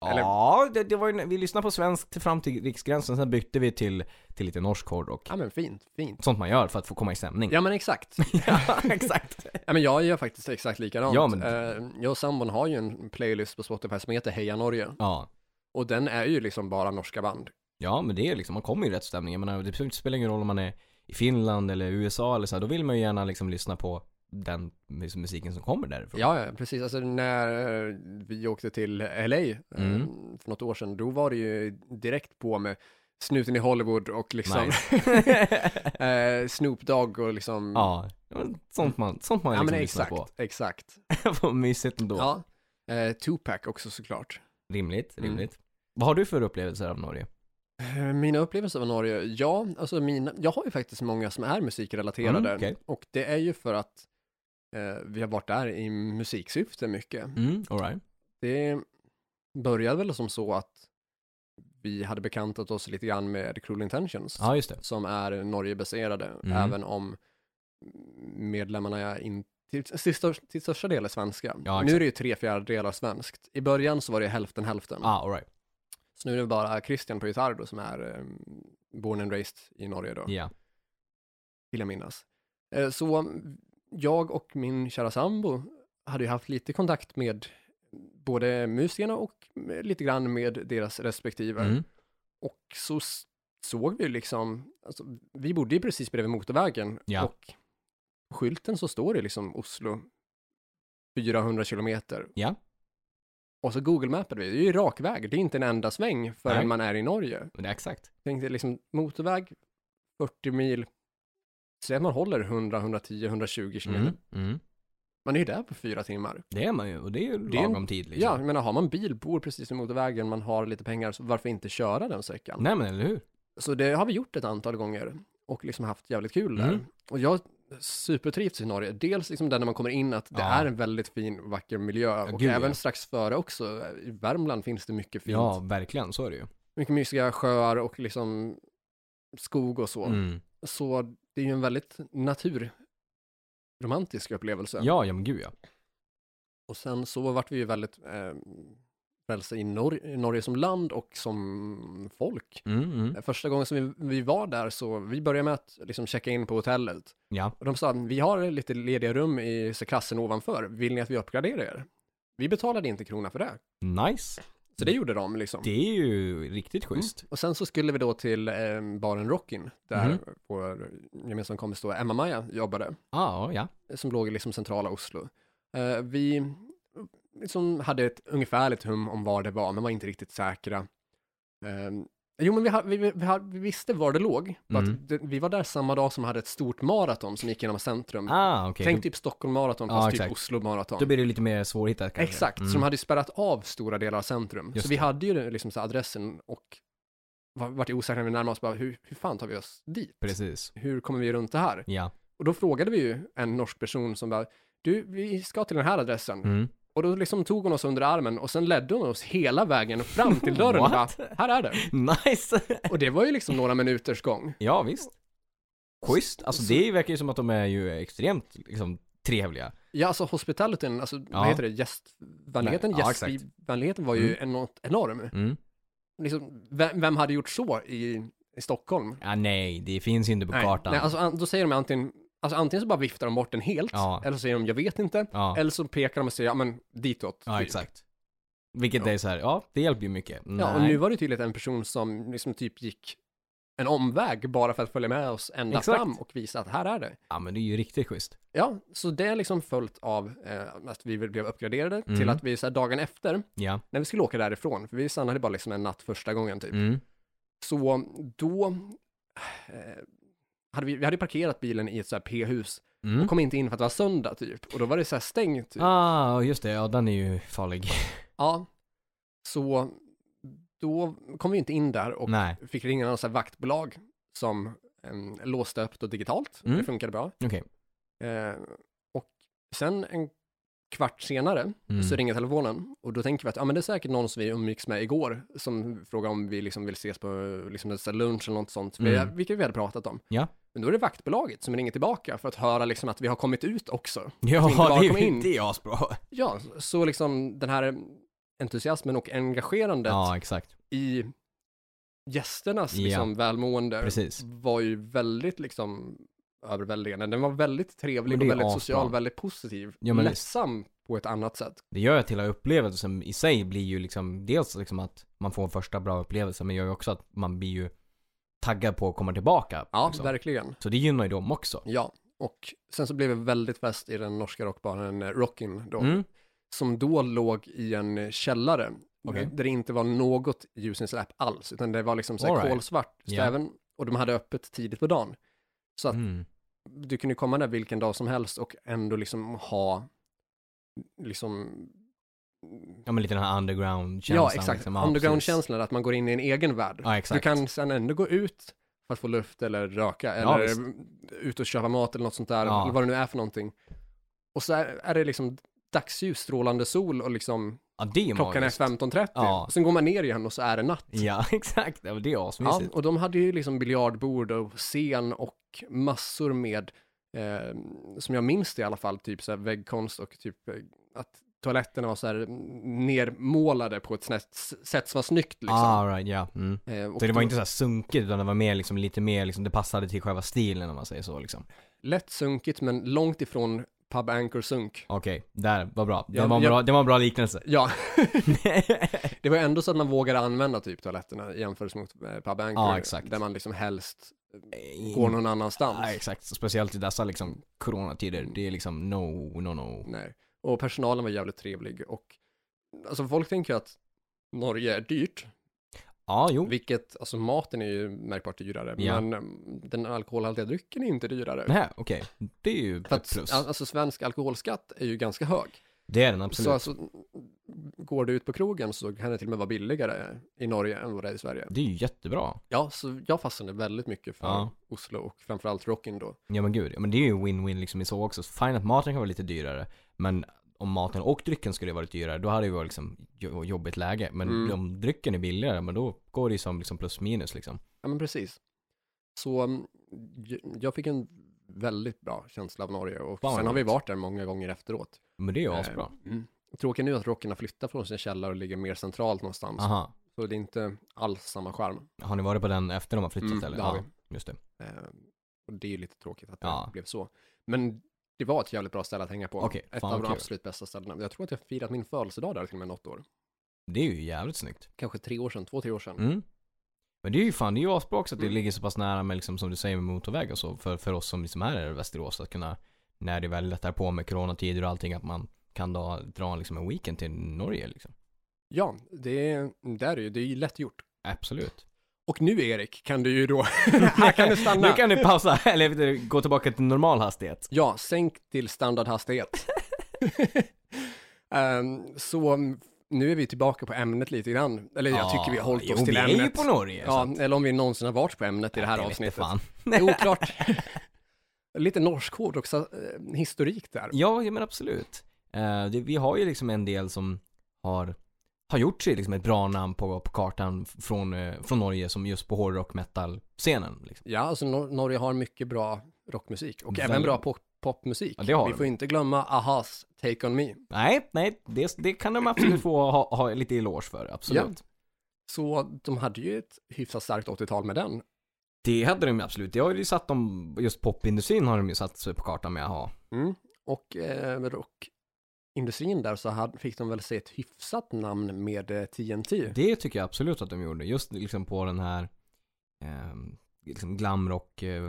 Speaker 2: Eller-
Speaker 1: Ja, det, det var ju, vi lyssnade på svensk till, fram till riksgränsen, sen bytte vi till, till lite norsk hårdrock.
Speaker 2: Ja men fint, fint.
Speaker 1: Sånt man gör för att få komma i stämning.
Speaker 2: Ja [LAUGHS] men exakt.
Speaker 1: Ja, exakt.
Speaker 2: ja men jag gör faktiskt exakt likadant.
Speaker 1: Ja, men-
Speaker 2: Eh, Jag och sambon har ju en playlist på Spotify som heter Heja Norge.
Speaker 1: [LAUGHS] Ja.
Speaker 2: Och den är ju liksom bara norska band.
Speaker 1: ja, men det är liksom, man kommer ju i rätt stämning. Jag menar, det spelar ingen roll om man är i Finland eller USA eller så här, då vill man ju gärna liksom lyssna på den mus- musiken som kommer därifrån.
Speaker 2: Ja, ja, precis. Alltså när eh, vi åkte till LA eh,
Speaker 1: Mm.
Speaker 2: för något år sedan, då var det ju direkt på med snuten i Hollywood och liksom [LAUGHS] eh, Snoop Dogg och liksom...
Speaker 1: [LAUGHS] ja, men sånt man, sånt man
Speaker 2: Ja,
Speaker 1: liksom
Speaker 2: men
Speaker 1: lyssnar
Speaker 2: exakt,
Speaker 1: på.
Speaker 2: exakt.
Speaker 1: Vad mysigt ändå.
Speaker 2: Ja. Eh, Tupac också såklart.
Speaker 1: Rimligt,
Speaker 2: Mm.
Speaker 1: rimligt. Vad har du för upplevelser av Norge?
Speaker 2: Eh, Mina upplevelser av Norge, ja, alltså mina, jag har ju faktiskt många som är musikrelaterade.
Speaker 1: Mm, okej.
Speaker 2: Och det är ju för att eh, vi har varit där i musiksyfte mycket.
Speaker 1: Mm, alright.
Speaker 2: Det började väl som så att vi hade bekantat oss lite grann med Cruel Intentions,
Speaker 1: Ja, just det.
Speaker 2: som är Norgebaserade,
Speaker 1: Mm.
Speaker 2: även om medlemmarna är in, till, till, största, till största del är svenska.
Speaker 1: Ja,
Speaker 2: nu
Speaker 1: exakt.
Speaker 2: är det ju tre fjärdedelar svenskt. I början så var det hälften hälften.
Speaker 1: Ah, alright.
Speaker 2: Så nu är det bara Christian på gitarr då, som är eh, born and raised i Norge då,
Speaker 1: Ja.
Speaker 2: vill jag minnas. Eh, så jag och min kära sambo hade ju haft lite kontakt med både musikerna och med- lite grann med deras respektive.
Speaker 1: Mm.
Speaker 2: Och så s- såg vi ju liksom, alltså, vi bodde ju precis bredvid motorvägen
Speaker 1: Ja.
Speaker 2: och på skylten så står det liksom Oslo 400 kilometer.
Speaker 1: Ja.
Speaker 2: Och så Google-mappade vi, det är ju rak väg, det är inte en enda sväng förrän
Speaker 1: Nej.
Speaker 2: man är i Norge
Speaker 1: Men det är exakt.
Speaker 2: tänkte liksom motorväg, 40 mil, säg att man håller 100, 110, 120 kilometer.
Speaker 1: Mm. Mm.
Speaker 2: Man är ju där på fyra timmar.
Speaker 1: Det är man ju och det är ju
Speaker 2: Det är en-
Speaker 1: lagom tid liksom.
Speaker 2: Ja, jag menar har man bil, bor precis vid motorvägen, man har lite pengar, så varför inte köra den sträckan?
Speaker 1: Nej men eller hur?
Speaker 2: Så det har vi gjort ett antal gånger och liksom haft jävligt kul där.
Speaker 1: Mm.
Speaker 2: Och jag supertrivs i Norge. Dels liksom där när man kommer in att det
Speaker 1: Ja.
Speaker 2: är en väldigt fin, vacker miljö och
Speaker 1: gud,
Speaker 2: även
Speaker 1: ja.
Speaker 2: strax före också. I Värmland finns det mycket fint.
Speaker 1: Ja, verkligen. Så är det ju.
Speaker 2: Mycket mysiga sjöar och liksom skog och så.
Speaker 1: Mm.
Speaker 2: Så det är ju en väldigt naturromantisk upplevelse.
Speaker 1: Ja, ja men gud ja.
Speaker 2: Och sen så vart vi ju väldigt eh, frälsta i Nor- Norge som land och som folk.
Speaker 1: Mm, mm.
Speaker 2: Första gången som vi, vi var där så, vi började med att liksom checka in på hotellet.
Speaker 1: Ja.
Speaker 2: Och de sa, vi har lite lediga rum i så klassen ovanför, vill ni att vi uppgraderar er? Vi betalade inte krona för det.
Speaker 1: Nice.
Speaker 2: Så det gjorde de liksom.
Speaker 1: Mm. Det är ju riktigt schysst.
Speaker 2: Och sen så skulle vi då till eh, baren Rockin, där
Speaker 1: Mhm.
Speaker 2: vår gemensamma kompis då, Emma-Maja, jobbade.
Speaker 1: Ah, ja.
Speaker 2: som låg i liksom centrala Oslo. Eh, vi liksom hade ett ungefärligt hum om var det var, men var inte riktigt säkra. Eh, Jo, men vi, ha- vi, vi, vi, ha- vi visste var det låg. bara
Speaker 1: Mm.
Speaker 2: Att det, vi var där samma dag som hade ett stort maraton som gick genom centrum.
Speaker 1: Ah, okej.
Speaker 2: Tänk typ Stockholm maraton,
Speaker 1: Ja,
Speaker 2: fast
Speaker 1: exakt.
Speaker 2: typ Oslo maraton.
Speaker 1: Då blir det lite mer svårhittat kanske.
Speaker 2: Exakt,
Speaker 1: Mm.
Speaker 2: så de hade ju spärrat av stora delar av centrum.
Speaker 1: Just
Speaker 2: så vi
Speaker 1: det.
Speaker 2: hade ju liksom så här adressen och var- vart osäkra när vi närmade oss, bara, hur, hur fan tar vi oss dit?
Speaker 1: Precis.
Speaker 2: Hur kommer vi runt det här?
Speaker 1: Ja.
Speaker 2: Och då frågade vi ju en norsk person som bara, du, vi ska till den här adressen.
Speaker 1: Mm.
Speaker 2: Och då liksom tog hon oss under armen och sen ledde hon oss hela vägen fram
Speaker 1: [LAUGHS]
Speaker 2: till dörren och bara,
Speaker 1: What?
Speaker 2: här är det.
Speaker 1: [LAUGHS] Nice!
Speaker 2: Och det var ju liksom några minuters gång.
Speaker 1: ja, visst. Schysst. Alltså det verkar ju som att de är ju extremt liksom trevliga.
Speaker 2: Ja, alltså hospitalityn, alltså
Speaker 1: Ja.
Speaker 2: vad heter det, gästvänligheten?
Speaker 1: Nej, ja, exakt.
Speaker 2: gästvänligheten var ju enormt enorm.
Speaker 1: Mm.
Speaker 2: Liksom, vem, vem hade gjort så i, i Stockholm?
Speaker 1: Ja, nej, det finns ju inte på kartan.
Speaker 2: Nej, alltså, an- då säger de antingen, alltså, antingen så bara viftar de bort den helt,
Speaker 1: Ja.
Speaker 2: eller så säger de jag vet inte,
Speaker 1: ja.
Speaker 2: eller så pekar de och säger ja men ditåt.
Speaker 1: ja,
Speaker 2: typ.
Speaker 1: exakt. Vilket är så här, ja, det hjälper ju mycket. Nej.
Speaker 2: Ja, och nu var det tydligt en person som liksom typ gick en omväg bara för att följa med oss ända
Speaker 1: Exakt.
Speaker 2: fram och visa att här är det.
Speaker 1: ja, men det är ju riktigt schysst.
Speaker 2: Ja, så det är liksom följt av eh, att vi blev uppgraderade till
Speaker 1: Mm.
Speaker 2: att vi så här, dagen efter,
Speaker 1: Ja.
Speaker 2: när vi skulle åka därifrån, för vi stannade bara liksom en natt första gången typ,
Speaker 1: Mm.
Speaker 2: så då eh, hade vi, vi hade parkerat bilen i ett så här P-hus
Speaker 1: Mm.
Speaker 2: och kom inte in för att det var söndag typ. Och då var det så här stängt. Typ.
Speaker 1: Ah, just det. Ja, den är ju farlig.
Speaker 2: Ja. Så då kom vi inte in där och
Speaker 1: Nej,
Speaker 2: fick ringa någon så här vaktbolag som em, låste upp det digitalt.
Speaker 1: Mm.
Speaker 2: Det funkade bra.
Speaker 1: okej.
Speaker 2: Eh, och sen en kvart senare
Speaker 1: Mm.
Speaker 2: så ringer telefonen och då tänker vi att ja, men det är säkert någon som vi umgicks med igår som frågar om vi liksom vill ses på liksom, en sån här lunch eller något sånt,
Speaker 1: Mm.
Speaker 2: vi, vilket vi hade pratat om.
Speaker 1: Ja.
Speaker 2: Men då är det vaktbolaget som ringer tillbaka för att höra liksom, att vi har kommit ut också.
Speaker 1: Ja,
Speaker 2: inte bara
Speaker 1: det
Speaker 2: kom
Speaker 1: är ju
Speaker 2: in.
Speaker 1: det är asbra.
Speaker 2: Ja, så liksom den här entusiasmen och engagerandet
Speaker 1: Ja, exakt.
Speaker 2: i gästernas
Speaker 1: Ja.
Speaker 2: liksom, välmående
Speaker 1: Precis.
Speaker 2: var ju väldigt liksom överväldigande. Den var väldigt
Speaker 1: Men
Speaker 2: trevlig
Speaker 1: det
Speaker 2: och
Speaker 1: är
Speaker 2: väldigt
Speaker 1: asbra.
Speaker 2: social, väldigt positiv.
Speaker 1: Ja, men
Speaker 2: Lättsam på ett annat sätt.
Speaker 1: Det gör ju att hela upplevelsen i sig blir ju liksom dels liksom att man får en första bra upplevelse men gör ju också att man blir ju taggad på att komma tillbaka.
Speaker 2: Ja,
Speaker 1: liksom.
Speaker 2: verkligen.
Speaker 1: Så det gynnar ju dem också.
Speaker 2: Ja, och sen så blev det väldigt fest i den norska rockbaren eh, Rockin då,
Speaker 1: Mm.
Speaker 2: som då låg i en eh, källare
Speaker 1: Okej.
Speaker 2: där det inte var något ljusinsläpp alls, utan det var liksom så här
Speaker 1: All right.
Speaker 2: kolsvart, så
Speaker 1: Ja.
Speaker 2: även, och de hade öppet tidigt på dagen. Så att
Speaker 1: Mm.
Speaker 2: du kunde komma där vilken dag som helst och ändå liksom ha liksom
Speaker 1: Ja men lite den här underground-känslan.
Speaker 2: Ja, exakt.
Speaker 1: Liksom. precis.
Speaker 2: Underground-känslan, att man går in i en egen värld.
Speaker 1: Ja,
Speaker 2: du
Speaker 1: exakt.
Speaker 2: kan sen ändå gå ut för att få luft eller röka
Speaker 1: Ja,
Speaker 2: eller
Speaker 1: visst.
Speaker 2: ut och köpa mat eller något sånt där,
Speaker 1: Ja.
Speaker 2: eller vad det nu är för någonting. Och så är, är det liksom dagsljus, strålande sol och liksom
Speaker 1: Ja, det är ju
Speaker 2: klockan är
Speaker 1: magiskt.
Speaker 2: 15.30.
Speaker 1: Ja.
Speaker 2: Sen går man ner igen och så är det natt.
Speaker 1: Ja, [LAUGHS] exakt. Ja, men det är
Speaker 2: Ja,
Speaker 1: asmysigt.
Speaker 2: och de hade ju liksom biljardbord och scen och massor med, eh, som jag minns det i alla fall, typ så här väggkonst och typ eh, att toaletterna var så här nermålade på ett snett, s- sätt som var snyggt liksom.
Speaker 1: Ah, right, ja. Mm.
Speaker 2: Eh, och
Speaker 1: Så det var
Speaker 2: då-
Speaker 1: inte så här sunkigt utan det var mer liksom, lite mer liksom, det passade till själva stilen om man säger så liksom.
Speaker 2: lätt sunkigt men långt ifrån pub anchor sunk.
Speaker 1: Okej, där, vad bra. Det,
Speaker 2: Ja,
Speaker 1: var en
Speaker 2: jag-
Speaker 1: bra. det var en bra liknelse.
Speaker 2: Ja, [LAUGHS] det var ändå så att man vågade använda typ toaletterna i jämförelse mot eh, pub anchor.
Speaker 1: Ja, exakt.
Speaker 2: Där man liksom helst [LAUGHS] går någon annanstans.
Speaker 1: Ja, exakt. Speciellt i dessa liksom coronatider. Det är liksom no, no, no.
Speaker 2: Nej. Och personalen var jävligt trevlig och alltså folk tänker ju att Norge är dyrt,
Speaker 1: Ja, jo.
Speaker 2: vilket, alltså maten är ju märkbart dyrare,
Speaker 1: Ja.
Speaker 2: men mm, den alkoholhaltiga drycken är ju inte dyrare.
Speaker 1: Nej, okej. Det är ju
Speaker 2: För
Speaker 1: ett
Speaker 2: att,
Speaker 1: plus.
Speaker 2: alltså svensk alkoholskatt är ju ganska hög.
Speaker 1: Det är den
Speaker 2: Så
Speaker 1: absolut.
Speaker 2: alltså, går du ut på krogen så kan det till och med vara billigare i Norge än vad det är i Sverige.
Speaker 1: Det är ju jättebra.
Speaker 2: Ja, så jag fastnade väldigt mycket för
Speaker 1: Ja.
Speaker 2: Oslo och framförallt Rockin då.
Speaker 1: Ja men gud. Ja, men det är ju win-win liksom i så också. Fine att maten kan vara lite dyrare. Men om maten och drycken skulle vara lite dyrare, då hade det ju varit liksom jo- jobbigt läge. Men
Speaker 2: Mm.
Speaker 1: om drycken är billigare, men då går det ju som liksom plus minus liksom.
Speaker 2: Ja, men precis. Så mm, j- jag fick en väldigt bra känsla av Norge och
Speaker 1: Fan, vad
Speaker 2: sen har vi
Speaker 1: roligt.
Speaker 2: varit där många gånger efteråt.
Speaker 1: Men det är ju
Speaker 2: Eh,
Speaker 1: asbra.
Speaker 2: Mm. Tråkigt nu att Rocken har flyttat från sin källare och ligger mer centralt någonstans.
Speaker 1: Aha.
Speaker 2: Så det är inte alls samma charm.
Speaker 1: Har ni varit på den efter de har flyttat
Speaker 2: Mm,
Speaker 1: eller?
Speaker 2: det har
Speaker 1: ja, just det.
Speaker 2: Eh, och det är ju lite tråkigt att det
Speaker 1: Ja.
Speaker 2: blev så. Men det var ett jävligt bra ställe att hänga på.
Speaker 1: Okej,
Speaker 2: ett
Speaker 1: fan
Speaker 2: av
Speaker 1: vad
Speaker 2: de
Speaker 1: kul.
Speaker 2: absolut bästa ställena. Jag tror att jag firat min födelsedag där till och med något år.
Speaker 1: Det är ju jävligt snyggt.
Speaker 2: Kanske tre år sedan, två, tre år sedan.
Speaker 1: Mm. Men det är ju fan, det är ju asbra också att det
Speaker 2: Mm.
Speaker 1: ligger så pass nära med liksom, som du säger med motorväg och så. För, för oss som liksom är här i Västerås att kunna, när det väl lättar på med coronatider och allting, att man kan då dra liksom en weekend till Norge liksom.
Speaker 2: Ja, det, är- där är ju, det är ju lätt gjort.
Speaker 1: Absolut.
Speaker 2: Och nu Erik, kan du
Speaker 1: [LAUGHS]
Speaker 2: ju då, [LAUGHS] här kan du stanna.
Speaker 1: Nu kan du pausa, [LAUGHS] eller gå tillbaka till normal hastighet.
Speaker 2: Ja, sänk
Speaker 1: [LAUGHS]
Speaker 2: till standardhastighet. Ehm, så nu är vi tillbaka på ämnet lite grann. Eller jag tycker vi har hållit
Speaker 1: Ja,
Speaker 2: oss
Speaker 1: jo,
Speaker 2: till
Speaker 1: vi
Speaker 2: ämnet.
Speaker 1: är ju på Norge. så
Speaker 2: ja,
Speaker 1: att-
Speaker 2: eller om vi någonsin har varit på ämnet i det här
Speaker 1: Ja, vete
Speaker 2: avsnittet.
Speaker 1: fan. [LAUGHS]
Speaker 2: Det är oklart. lite norsk hårdrockshistorik där.
Speaker 1: Ja, ja, men absolut. Eh, det, vi har ju liksom en del som har, har gjort sig liksom ett bra namn på, på kartan f- från, eh, från Norge som just på hårdrock metal-scenen. Liksom.
Speaker 2: Ja, alltså Nor- Norge har mycket bra rockmusik och även
Speaker 1: Väldigt.
Speaker 2: bra pop popmusik.
Speaker 1: Ja, det har
Speaker 2: vi
Speaker 1: de.
Speaker 2: får inte glömma Ahas Take On Me.
Speaker 1: Nej, nej, det, det kan de absolut få ha, ha lite eloge för, absolut.
Speaker 2: Så de hade ju ett hyfsat starkt 80-tal med den.
Speaker 1: Det hade de ju absolut. Det har ju satt dem, just popindustrin har de ju satt sig på kartan med att ha.
Speaker 2: Mm. Och eh, med rockindustrin där så hade, fick de väl se ett hyfsat namn med eh, TNT.
Speaker 1: Det tycker jag absolut att de gjorde. Just liksom på den här eh, liksom glamrock, eh,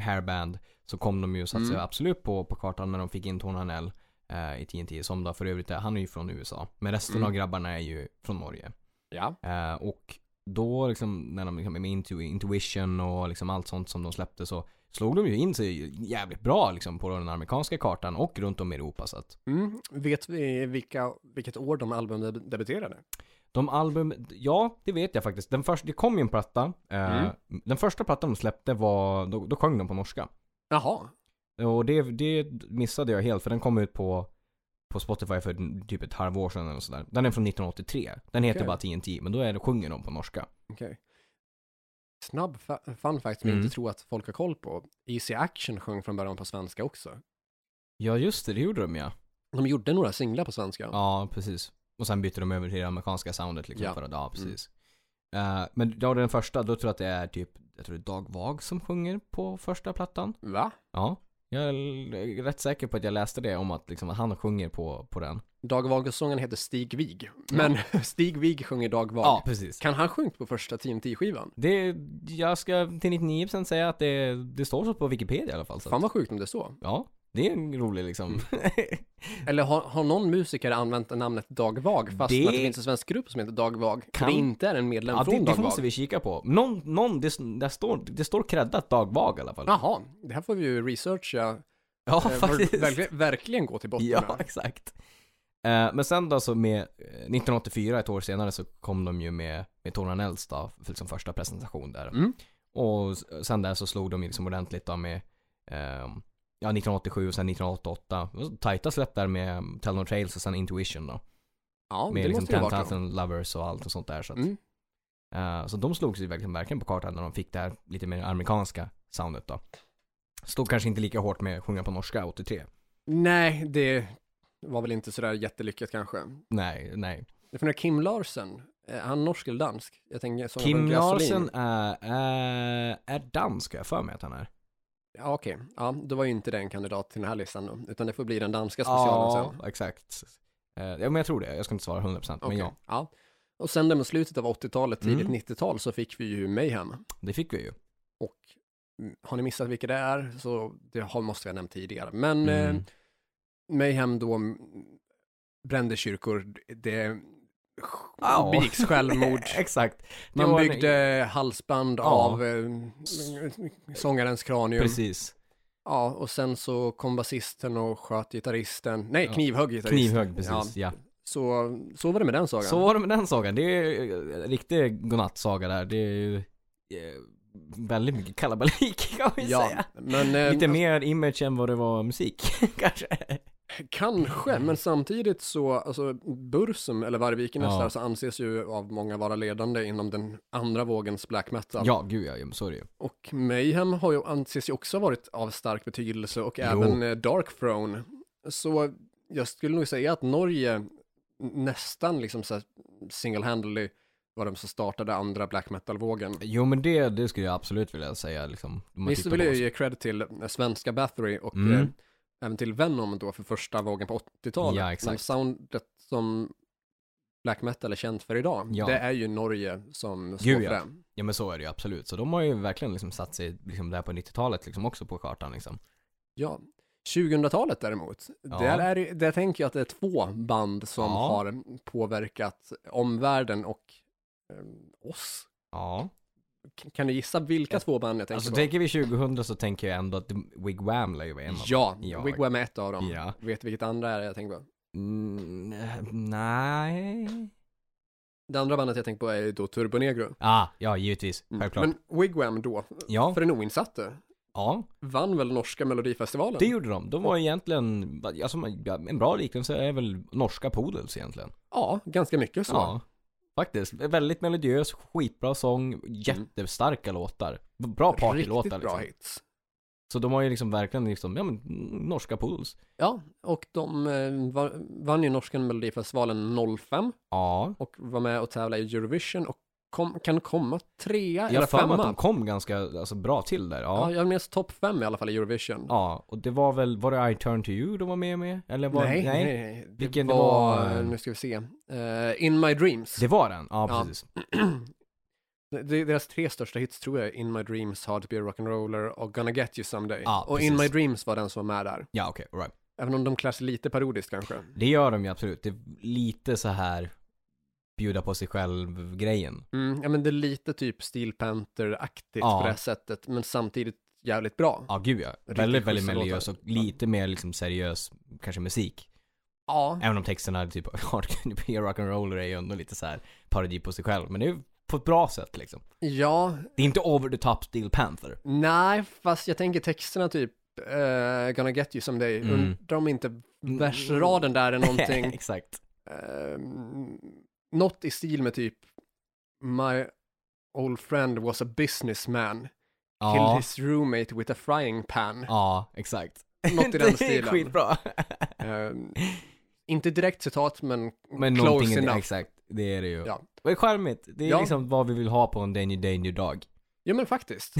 Speaker 1: hairband, så kom de ju så att
Speaker 2: Mm.
Speaker 1: säga absolut på, på kartan när de fick in Tony Hanell eh, i TNT, som då för övrigt är, han är ju från USA. Men resten
Speaker 2: Mm.
Speaker 1: av grabbarna är ju från Norge.
Speaker 2: Ja.
Speaker 1: Eh, och då liksom, när de liksom med intu- intuition och liksom allt sånt som de släppte så slog de ju in sig jävligt bra liksom på den amerikanska kartan och runt om i Europa så att
Speaker 2: Mm. Vet vi vilka, vilket år de albumen deb- debuterade?
Speaker 1: De album, ja det vet jag faktiskt. Den första, det kom ju en platta. Eh,
Speaker 2: Mm.
Speaker 1: Den första plattan de släppte var, då, då sjöng de på norska.
Speaker 2: Jaha.
Speaker 1: Och det, det missade jag helt för den kom ut på, på Spotify för typ ett halvår sedan eller sådär. Den är från 1983. Den heter
Speaker 2: Okej.
Speaker 1: bara TNT, men då är det, sjunger de på norska.
Speaker 2: Okej. Snabb fa- fun fact som jag
Speaker 1: Mm.
Speaker 2: inte tror att folk har koll på. Easy Action sjöng från början på svenska också.
Speaker 1: Ja just det, det gjorde de ja.
Speaker 2: De gjorde några singlar på svenska.
Speaker 1: Ja, precis. Och sen byter de över till det amerikanska soundet liksom
Speaker 2: Ja. Mm.
Speaker 1: för att, ja precis. Eh, men då den första, då tror jag att det är typ, jag tror det är Dag Vag som sjunger på första plattan.
Speaker 2: Va?
Speaker 1: Ja, jag är l- rätt säker på att jag läste det om att liksom, att han sjunger på, på den.
Speaker 2: Dag Wahlgren-sången heter Stig Wig. Men [LAUGHS] Stig Wig sjunger Dag Wahl.
Speaker 1: Ja, precis.
Speaker 2: Kan han sjunga på första TNT-skivan?
Speaker 1: Det, jag ska till 99% säga att det, det står så på Wikipedia i alla fall. Så
Speaker 2: Fan Mm.
Speaker 1: att,
Speaker 2: vad sjukt om det är så.
Speaker 1: ja, det är en rolig [LAUGHS] liksom.
Speaker 2: Eller har, har någon musiker använt namnet Dag Vag fast
Speaker 1: Det-
Speaker 2: att det finns en svensk grupp som heter Dag Vag?
Speaker 1: Kan-
Speaker 2: Det inte är en medlem
Speaker 1: ja, det,
Speaker 2: från Dag
Speaker 1: det
Speaker 2: Vag.
Speaker 1: måste vi kika på. Någon, någon det, det står, det står creddat Dag Vag i alla fall.
Speaker 2: Jaha, det här får vi ju researcha.
Speaker 1: ja
Speaker 2: eh,
Speaker 1: faktiskt.
Speaker 2: ver- verkligen, verkligen gå till botten
Speaker 1: Ja,
Speaker 2: med.
Speaker 1: exakt. Eh, men sen då så med eh, 1984, ett år senare, så kom de ju med, med Tornan Ells då, för liksom första presentation där.
Speaker 2: Mm.
Speaker 1: Och s- sen där så slog de ju liksom ordentligt då med, ehm, ja 1987 och sen 1988. Det var Tajta släpp där med um, Tell No Trails och sen Intuition då.
Speaker 2: Ja,
Speaker 1: Med
Speaker 2: det
Speaker 1: liksom
Speaker 2: måste det ha
Speaker 1: Ten
Speaker 2: varit. någon.
Speaker 1: Thousand Lovers och allt och sånt där. Så, att,
Speaker 2: Mm.
Speaker 1: eh, så de slog sig verkligen, verkligen på kartan när de fick det här lite mer amerikanska soundet då. Stod kanske inte lika hårt med sjunga på norska 83.
Speaker 2: Nej, det var väl inte sådär jättelyckat kanske.
Speaker 1: Nej, nej.
Speaker 2: Det är från Kim Larsen. Är han norsk eller dansk? Jag tänker som
Speaker 1: Kim
Speaker 2: Gasolin.
Speaker 1: Larsen är, är, är dansk har jag för mig att han är.
Speaker 2: Ja, okej. Ja, då var ju inte den kandidat till den här listan då, utan det får bli den danska specialen sen.
Speaker 1: exakt. Eh, Ja, men jag tror det. Jag ska inte svara 100% men
Speaker 2: Okej,
Speaker 1: ja,
Speaker 2: ja. Och sen där mot slutet av 80-talet, tidigt
Speaker 1: Mm.
Speaker 2: 90-tal, så fick vi ju Mayhem.
Speaker 1: det fick vi ju.
Speaker 2: Och mm, har ni missat vilka det är, så det har, måste vi ha nämnt tidigare. Men
Speaker 1: Mm.
Speaker 2: eh, Mayhem då mm, brände kyrkor, det
Speaker 1: Ja. [LAUGHS]
Speaker 2: begicks självmord.
Speaker 1: Eh, exakt. Det
Speaker 2: Man
Speaker 1: var en-
Speaker 2: byggde halsband
Speaker 1: Ja.
Speaker 2: av eh, sångarens kranium.
Speaker 1: Precis.
Speaker 2: Ja, och sen så kom basisten och sköt gitarristen. Nej,
Speaker 1: Ja.
Speaker 2: knivhögg gitarristen.
Speaker 1: Knivhögg, precis. Ja.
Speaker 2: Så, så var det med den sagan.
Speaker 1: Så var det med den sagan. Det är eh, en riktig godnattsaga där. Det är ju eh, väldigt mycket kalabalik [LAUGHS] kan man ju
Speaker 2: ja,
Speaker 1: säga.
Speaker 2: men eh,
Speaker 1: Lite mer image än vad det var musik, [LAUGHS] kanske.
Speaker 2: kanske,
Speaker 1: Mm.
Speaker 2: men samtidigt så, alltså Bursum eller Vargviken
Speaker 1: Ja.
Speaker 2: ja. så anses ju av många vara ledande inom den andra vågens black metal.
Speaker 1: Ja, gud ja, ja, men så är det ju.
Speaker 2: Och Mayhem har ju, anses ju också ha varit av stark betydelse och
Speaker 1: Jo.
Speaker 2: även eh, Dark Throne. Så jag skulle nog säga att Norge n- nästan liksom så här single-handedly var de som startade andra black metal-vågen.
Speaker 1: Jo men det, det skulle jag absolut vilja säga liksom. om man
Speaker 2: Visst
Speaker 1: tittar
Speaker 2: vill
Speaker 1: på
Speaker 2: jag
Speaker 1: oss.
Speaker 2: ju ge cred till eh, svenska Bathory och
Speaker 1: Mm.
Speaker 2: eh, även till Venom då för första vågen på 80-talet.
Speaker 1: Ja,
Speaker 2: Men
Speaker 1: exakt.
Speaker 2: soundet som black metal är känt för idag,
Speaker 1: Ja.
Speaker 2: det är ju Norge som står
Speaker 1: Gud,
Speaker 2: för
Speaker 1: ja.
Speaker 2: det.
Speaker 1: Ja men så är det ju absolut. Så de har ju verkligen liksom satt sig liksom där på 90-talet liksom också på kartan liksom.
Speaker 2: Ja. 2000-talet däremot,
Speaker 1: Ja.
Speaker 2: där, är, det- där tänker jag att det är två band som
Speaker 1: Ja.
Speaker 2: har påverkat omvärlden och eh, oss
Speaker 1: Ja.
Speaker 2: k- kan du gissa vilka två band jag tänker
Speaker 1: Alltså
Speaker 2: på?
Speaker 1: tänker vi 2000 så tänker jag ändå att Wigwam lär ju vara en av
Speaker 2: Ja,
Speaker 1: Ja.
Speaker 2: Wigwam är ett av dem.
Speaker 1: Ja.
Speaker 2: Vet du vilket andra är jag tänker på?
Speaker 1: Mm, eh, nej.
Speaker 2: Det andra bandet jag tänker på är ju då Turbonegro.
Speaker 1: Ah, ja givetvis. Självklart.
Speaker 2: Mm, Men Wigwam då,
Speaker 1: ja,
Speaker 2: för den oinsatte,
Speaker 1: ja,
Speaker 2: vann väl norska melodifestivalen?
Speaker 1: det gjorde de. De var egentligen, alltså, ja, en bra liknelse är väl norska Poodles egentligen.
Speaker 2: Ja, ganska mycket så.
Speaker 1: Ja, faktiskt. Väldigt melodiös, skitbra sång, jättestarka låtar. Bra partylåtar
Speaker 2: Mm. Riktigt bra
Speaker 1: liksom.
Speaker 2: hits.
Speaker 1: Så de har ju liksom verkligen liksom, ja men norska Poodles.
Speaker 2: Ja, och de eh, var- vann ju norska melodifestivalen 05
Speaker 1: Ja.
Speaker 2: och var med och tävlade i Eurovision och kom, kan komma trea
Speaker 1: Jag
Speaker 2: eller
Speaker 1: har för mig att de
Speaker 2: femma.
Speaker 1: kom ganska alltså, bra till där.
Speaker 2: Ja,
Speaker 1: Ja.
Speaker 2: jag minns topp fem i alla fall i Eurovision.
Speaker 1: ja. Och det var väl, var det I Turn To You de var med med? Eller var
Speaker 2: nej, nej, nej. Det
Speaker 1: Vilken det
Speaker 2: var,
Speaker 1: var-
Speaker 2: nu ska vi se, Eh, In My Dreams.
Speaker 1: Det var den? Ja,
Speaker 2: Ja.
Speaker 1: precis.
Speaker 2: [CLEARS THROAT] Det- Deras tre största hits tror jag är In My Dreams, Hard To Be A Rock'n'Roller och Gonna Get You Someday.
Speaker 1: Ja,
Speaker 2: och In My
Speaker 1: precis.
Speaker 2: Dreams var den som var med där.
Speaker 1: Ja, okej, all right.
Speaker 2: Även om de klär sig lite parodiskt kanske.
Speaker 1: Det gör de ju absolut. Det är lite så här bjuda på sig själv-grejen.
Speaker 2: Mm, ja men det är lite typ Steel Panther-aktigt
Speaker 1: Ja.
Speaker 2: på det här sättet, men samtidigt jävligt bra. Ja,
Speaker 1: Ja, gud ja.
Speaker 2: Riktigt
Speaker 1: väldigt, väldigt
Speaker 2: schyssta
Speaker 1: melodiös och
Speaker 2: låtar.
Speaker 1: lite mer liksom seriös, kanske musik. Även om texterna är typ [LAUGHS] hard can you be a rock'n'roller är ju ändå lite så här parodi på sig själv. Men det är ju på ett bra sätt liksom.
Speaker 2: ja,
Speaker 1: Det är inte over the top Steel Panther.
Speaker 2: nej, fast jag tänker texterna typ eh, Gonna Get You Someday,
Speaker 1: Mm.
Speaker 2: undrar om inte versraden där är
Speaker 1: [LAUGHS]
Speaker 2: någonting,
Speaker 1: Exakt.
Speaker 2: uh, något i stil med typ My old friend was a businessman, killed
Speaker 1: Ja,
Speaker 2: his roommate with a frying pan.
Speaker 1: ja, exakt.
Speaker 2: [LAUGHS] Något i
Speaker 1: Det är
Speaker 2: den stilen.
Speaker 1: skitbra.
Speaker 2: Eh, inte direkt citat, men,
Speaker 1: Men någonting,
Speaker 2: close
Speaker 1: är det-
Speaker 2: enough.
Speaker 1: exakt. Det är det ju.
Speaker 2: Ja.
Speaker 1: Det är charmigt. Det är
Speaker 2: Ja.
Speaker 1: liksom vad vi vill ha på en Day New Day New Dog.
Speaker 2: Ja men faktiskt.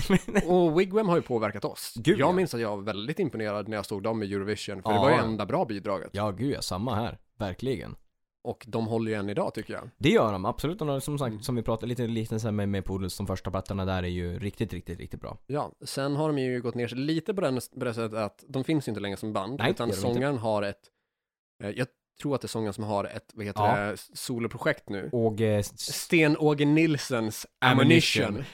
Speaker 2: Och Wigwam har ju påverkat oss.
Speaker 1: [LAUGHS] Gud,
Speaker 2: jag
Speaker 1: ja.
Speaker 2: minns att jag var väldigt imponerad när jag såg dem i Eurovision, för det
Speaker 1: Ja.
Speaker 2: var ju enda bra bidraget.
Speaker 1: [LAUGHS] Ja, gud ja, samma här. Verkligen.
Speaker 2: Och de håller ju än idag tycker jag.
Speaker 1: Det gör de, absolut. De har, som sagt,
Speaker 2: Mm.
Speaker 1: som vi pratade lite, lite så här med, med Poodles, de första plattorna där är ju riktigt, riktigt, riktigt bra.
Speaker 2: Ja, sen har de ju gått ner sig lite på den- på det sättet att de finns ju inte längre som band,
Speaker 1: Nej,
Speaker 2: utan
Speaker 1: det gör de
Speaker 2: sångaren har ett, eh, jag tror att det är sångaren som har ett, vad heter
Speaker 1: Ja.
Speaker 2: det, soloprojekt nu.
Speaker 1: Och eh, s-
Speaker 2: Sten-Åge Nilsens Ammunition.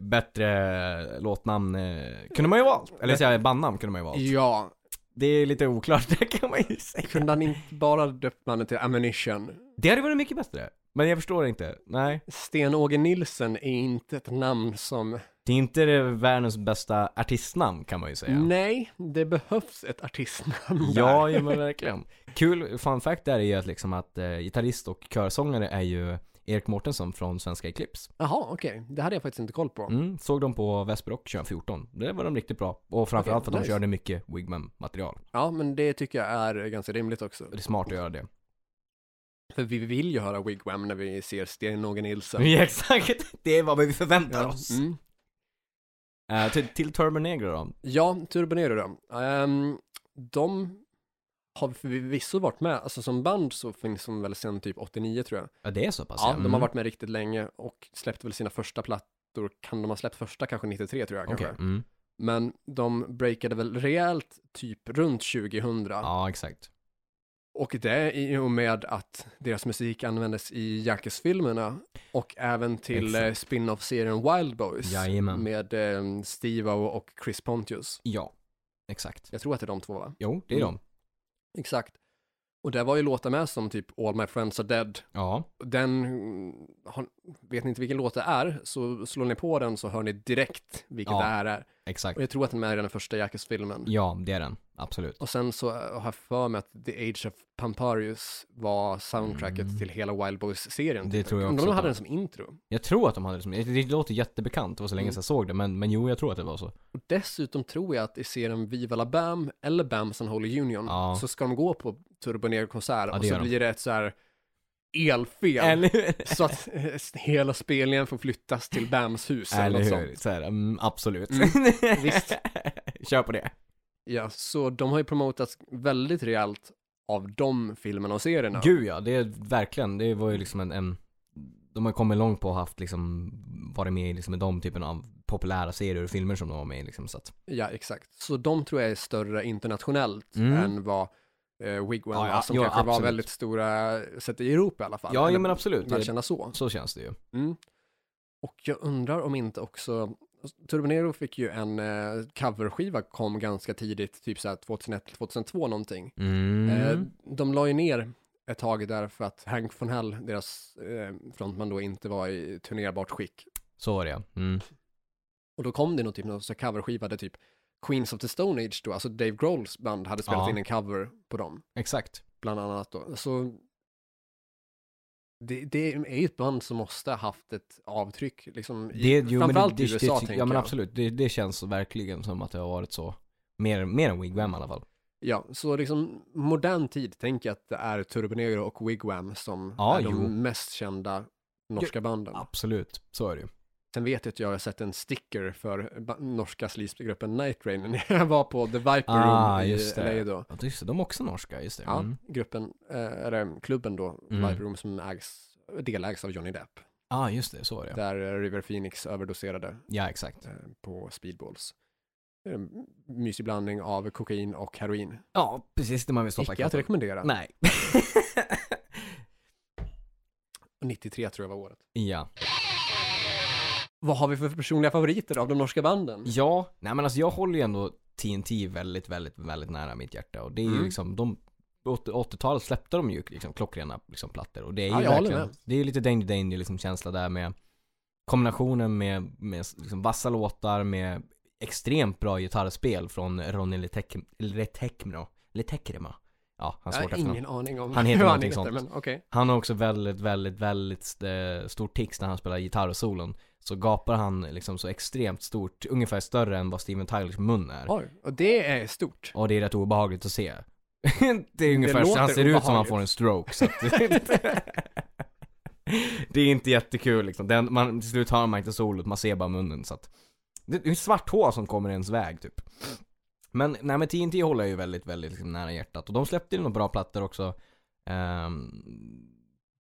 Speaker 1: bättre låtnamn eh, kunde man ju valt. Eller säga bandnamn kunde man ju valt.
Speaker 2: Ja,
Speaker 1: Det är lite oklart, [LAUGHS] det kan man ju säga.
Speaker 2: kunde han inte bara döpt mannen till Ammunition?
Speaker 1: Det hade varit mycket bättre. Men jag förstår inte. Nej.
Speaker 2: Sten-Åge Nilsen är inte ett namn som
Speaker 1: Det är inte det världens bästa artistnamn kan man ju säga.
Speaker 2: Nej, det behövs ett artistnamn
Speaker 1: Ja,
Speaker 2: där.
Speaker 1: ja men verkligen. Kul fun fact där är ju att liksom att eh, gitarrist och körsångare är ju Erik Mårtensson från Svenska Eclipse.
Speaker 2: Jaha, okej. Det hade jag faktiskt inte koll på.
Speaker 1: Mm, såg dem på Västerbrock 2014. Det var de riktigt bra. Och framförallt för att de
Speaker 2: nice.
Speaker 1: körde mycket Wigman-material.
Speaker 2: Ja, men det tycker jag är ganska rimligt också.
Speaker 1: Det är smart att göra det.
Speaker 2: För vi vill ju höra Wigwam när vi ser Sten-Åge Nilsson.
Speaker 1: Ja, [LAUGHS] exakt. Det är vad vi förväntar
Speaker 2: Ja,
Speaker 1: oss.
Speaker 2: mm.
Speaker 1: Eh, till, till Turbonegro då.
Speaker 2: ja Turbonero då. Ehm, de har förvisso varit med, alltså som band så finns de väl sedan typ 89 tror jag.
Speaker 1: Ja, det är så pass
Speaker 2: Ja, de har
Speaker 1: Mm.
Speaker 2: varit med riktigt länge och släppte väl sina första plattor, kan de ha släppt första kanske 93 tror jag
Speaker 1: Okej.
Speaker 2: kanske.
Speaker 1: Mm.
Speaker 2: Men de breakade väl rejält typ runt 2000.
Speaker 1: Ja, exakt.
Speaker 2: Och det i och med att deras musik användes i Jackass-filmerna och även till
Speaker 1: Exakt.
Speaker 2: eh, spin-off-serien Wild Boys
Speaker 1: Jajamän.
Speaker 2: med eh, Steve-O och Chris Pontius.
Speaker 1: Ja, exakt.
Speaker 2: Jag tror att det är de två va?
Speaker 1: Jo, det är
Speaker 2: Mm.
Speaker 1: de.
Speaker 2: Exakt. Och där var ju låtar med som typ All My Friends Are Dead.
Speaker 1: Ja,
Speaker 2: Den, mm, har, vet ni inte vilken låt det är så slår ni på den så hör ni direkt vilken
Speaker 1: Ja.
Speaker 2: det här är.
Speaker 1: exakt.
Speaker 2: Och jag tror att den är med i den första Jackass-filmen.
Speaker 1: Ja, det är den. Absolut.
Speaker 2: Och sen så har jag för mig att The Age of Pamparius var soundtracket
Speaker 1: Mm.
Speaker 2: till hela Wild Boys-serien.
Speaker 1: Det tror jag
Speaker 2: Undrar om
Speaker 1: också
Speaker 2: De
Speaker 1: att
Speaker 2: hade
Speaker 1: de-
Speaker 2: den som intro.
Speaker 1: Jag tror att de hade det som, det- det låter jättebekant, det var så länge
Speaker 2: Mm.
Speaker 1: sedan jag såg det, men, men jo, jag tror att det var så.
Speaker 2: Och dessutom tror jag att i serien Viva La Bam eller Bams and Holy Union
Speaker 1: Ja.
Speaker 2: så ska de gå på Turbonegro-konsert
Speaker 1: Ja,
Speaker 2: och
Speaker 1: det
Speaker 2: så
Speaker 1: gör de.
Speaker 2: blir det ett så här elfel.
Speaker 1: Eller hur?
Speaker 2: Så att eh, hela spelningen får flyttas till Bams hus eller
Speaker 1: Eller
Speaker 2: något
Speaker 1: hur?
Speaker 2: sånt.
Speaker 1: Så här, mm, absolut.
Speaker 2: Mm,
Speaker 1: [LAUGHS]
Speaker 2: visst.
Speaker 1: Kör på det.
Speaker 2: Ja, så de har ju promotats väldigt rejält av de filmerna och serierna.
Speaker 1: Gud ja, det är verkligen, det var ju liksom en, en de har kommit långt på och haft liksom, varit med i liksom de typen av populära serier och filmer som de var med i liksom så att,
Speaker 2: Ja, exakt. Så de tror jag är större internationellt
Speaker 1: Mm.
Speaker 2: än vad eh, Wigwam
Speaker 1: Ja, ja,
Speaker 2: var, som
Speaker 1: jo,
Speaker 2: kanske var
Speaker 1: absolut.
Speaker 2: väldigt stora, sett i Europa i alla fall.
Speaker 1: ja
Speaker 2: Eller
Speaker 1: jo, men absolut, det,
Speaker 2: välkända så.
Speaker 1: så känns det ju.
Speaker 2: Mm. Och jag undrar om inte också, Turbonero fick ju en eh, coverskiva, kom ganska tidigt, typ såhär 2001, 2002 någonting.
Speaker 1: Mm.
Speaker 2: Eh, de la ju ner ett tag där för att Hank von Hell, deras eh, frontman då, inte var i turnerbart skick.
Speaker 1: Så var det ja. Mm.
Speaker 2: Och då kom det någon typ av så coverskiva där typ Queens of the Stone Age då, alltså Dave Grohls band hade spelat
Speaker 1: Ja.
Speaker 2: in en cover på dem,
Speaker 1: Exakt.
Speaker 2: bland annat då. Så det, det är ju ett band som måste ha haft ett avtryck, liksom, i,
Speaker 1: Det, jo, men det,
Speaker 2: framförallt
Speaker 1: det,
Speaker 2: i USA
Speaker 1: det,
Speaker 2: tänker
Speaker 1: ja men
Speaker 2: jag.
Speaker 1: absolut, det, det känns verkligen som att det har varit så. Mer, mer än Wigwam i alla fall.
Speaker 2: Ja, så liksom modern tid, tänk att det är Turbonegro och Wigwam som
Speaker 1: Ja,
Speaker 2: är
Speaker 1: jo.
Speaker 2: de mest kända norska banden.
Speaker 1: Absolut, så är det ju.
Speaker 2: Sen vet jag att jag har sett en sticker för ba- norska sleazegruppen Night Rain när [LAUGHS] jag var på The Viper
Speaker 1: Ah,
Speaker 2: Room
Speaker 1: just
Speaker 2: i
Speaker 1: det.
Speaker 2: LA då.
Speaker 1: Ja, just det, de är också norska, just det.
Speaker 2: Ja,
Speaker 1: Mm.
Speaker 2: gruppen, eh, eller klubben då,
Speaker 1: Mm.
Speaker 2: Viper Room som ägs, delägs av Johnny Depp,
Speaker 1: ah, just det, så var det ja.
Speaker 2: där eh, River Phoenix överdoserade
Speaker 1: Ja, exakt.
Speaker 2: eh, på speedballs. Eh, mysig blandning av kokain och heroin.
Speaker 1: Ja, precis det man vill stoppa
Speaker 2: Icke att
Speaker 1: katten.
Speaker 2: rekommendera.
Speaker 1: Nej. [LAUGHS]
Speaker 2: 93 tror jag var året.
Speaker 1: ja.
Speaker 2: Vad har vi för personliga favoriter av de norska banden?
Speaker 1: Ja, nej men alltså jag håller ju ändå TNT väldigt, väldigt, väldigt nära mitt hjärta och det är ju
Speaker 2: Mm.
Speaker 1: liksom, de, på 80-talet släppte de ju liksom klockrena liksom plattor och det är ju
Speaker 2: Ja, jag håller
Speaker 1: verkligen,
Speaker 2: med.
Speaker 1: det är ju lite Danger Danger liksom känsla där med kombinationen med, med liksom vassa låtar med extremt bra gitarrspel från Ronny Letek- Letekmno, Letekrema. Ja, han
Speaker 2: Jag
Speaker 1: svårt
Speaker 2: har
Speaker 1: efternamn.
Speaker 2: ingen aning om
Speaker 1: Han heter
Speaker 2: hur
Speaker 1: någonting sånt.
Speaker 2: men okej.
Speaker 1: Han har också väldigt, väldigt, väldigt eh, stor tics när han spelar gitarrsolon. Så gapar han liksom så extremt stort, ungefär större än vad Steven Tylers mun är.
Speaker 2: Oj, och det är stort.
Speaker 1: Och det är rätt obehagligt att se. [LAUGHS] det är ungefär så
Speaker 2: låter
Speaker 1: han ser ut som han
Speaker 2: obehagligt.
Speaker 1: får en stroke. Så att [LAUGHS] det är inte jättekul liksom. Den, man, till slut hör man inte solot, man ser bara munnen. Så att, det är ett svart hår som kommer i ens väg typ. Men, nej men TNT håller jag ju väldigt, väldigt liksom, nära hjärtat. Och de släppte ju några bra plattor också. ehm,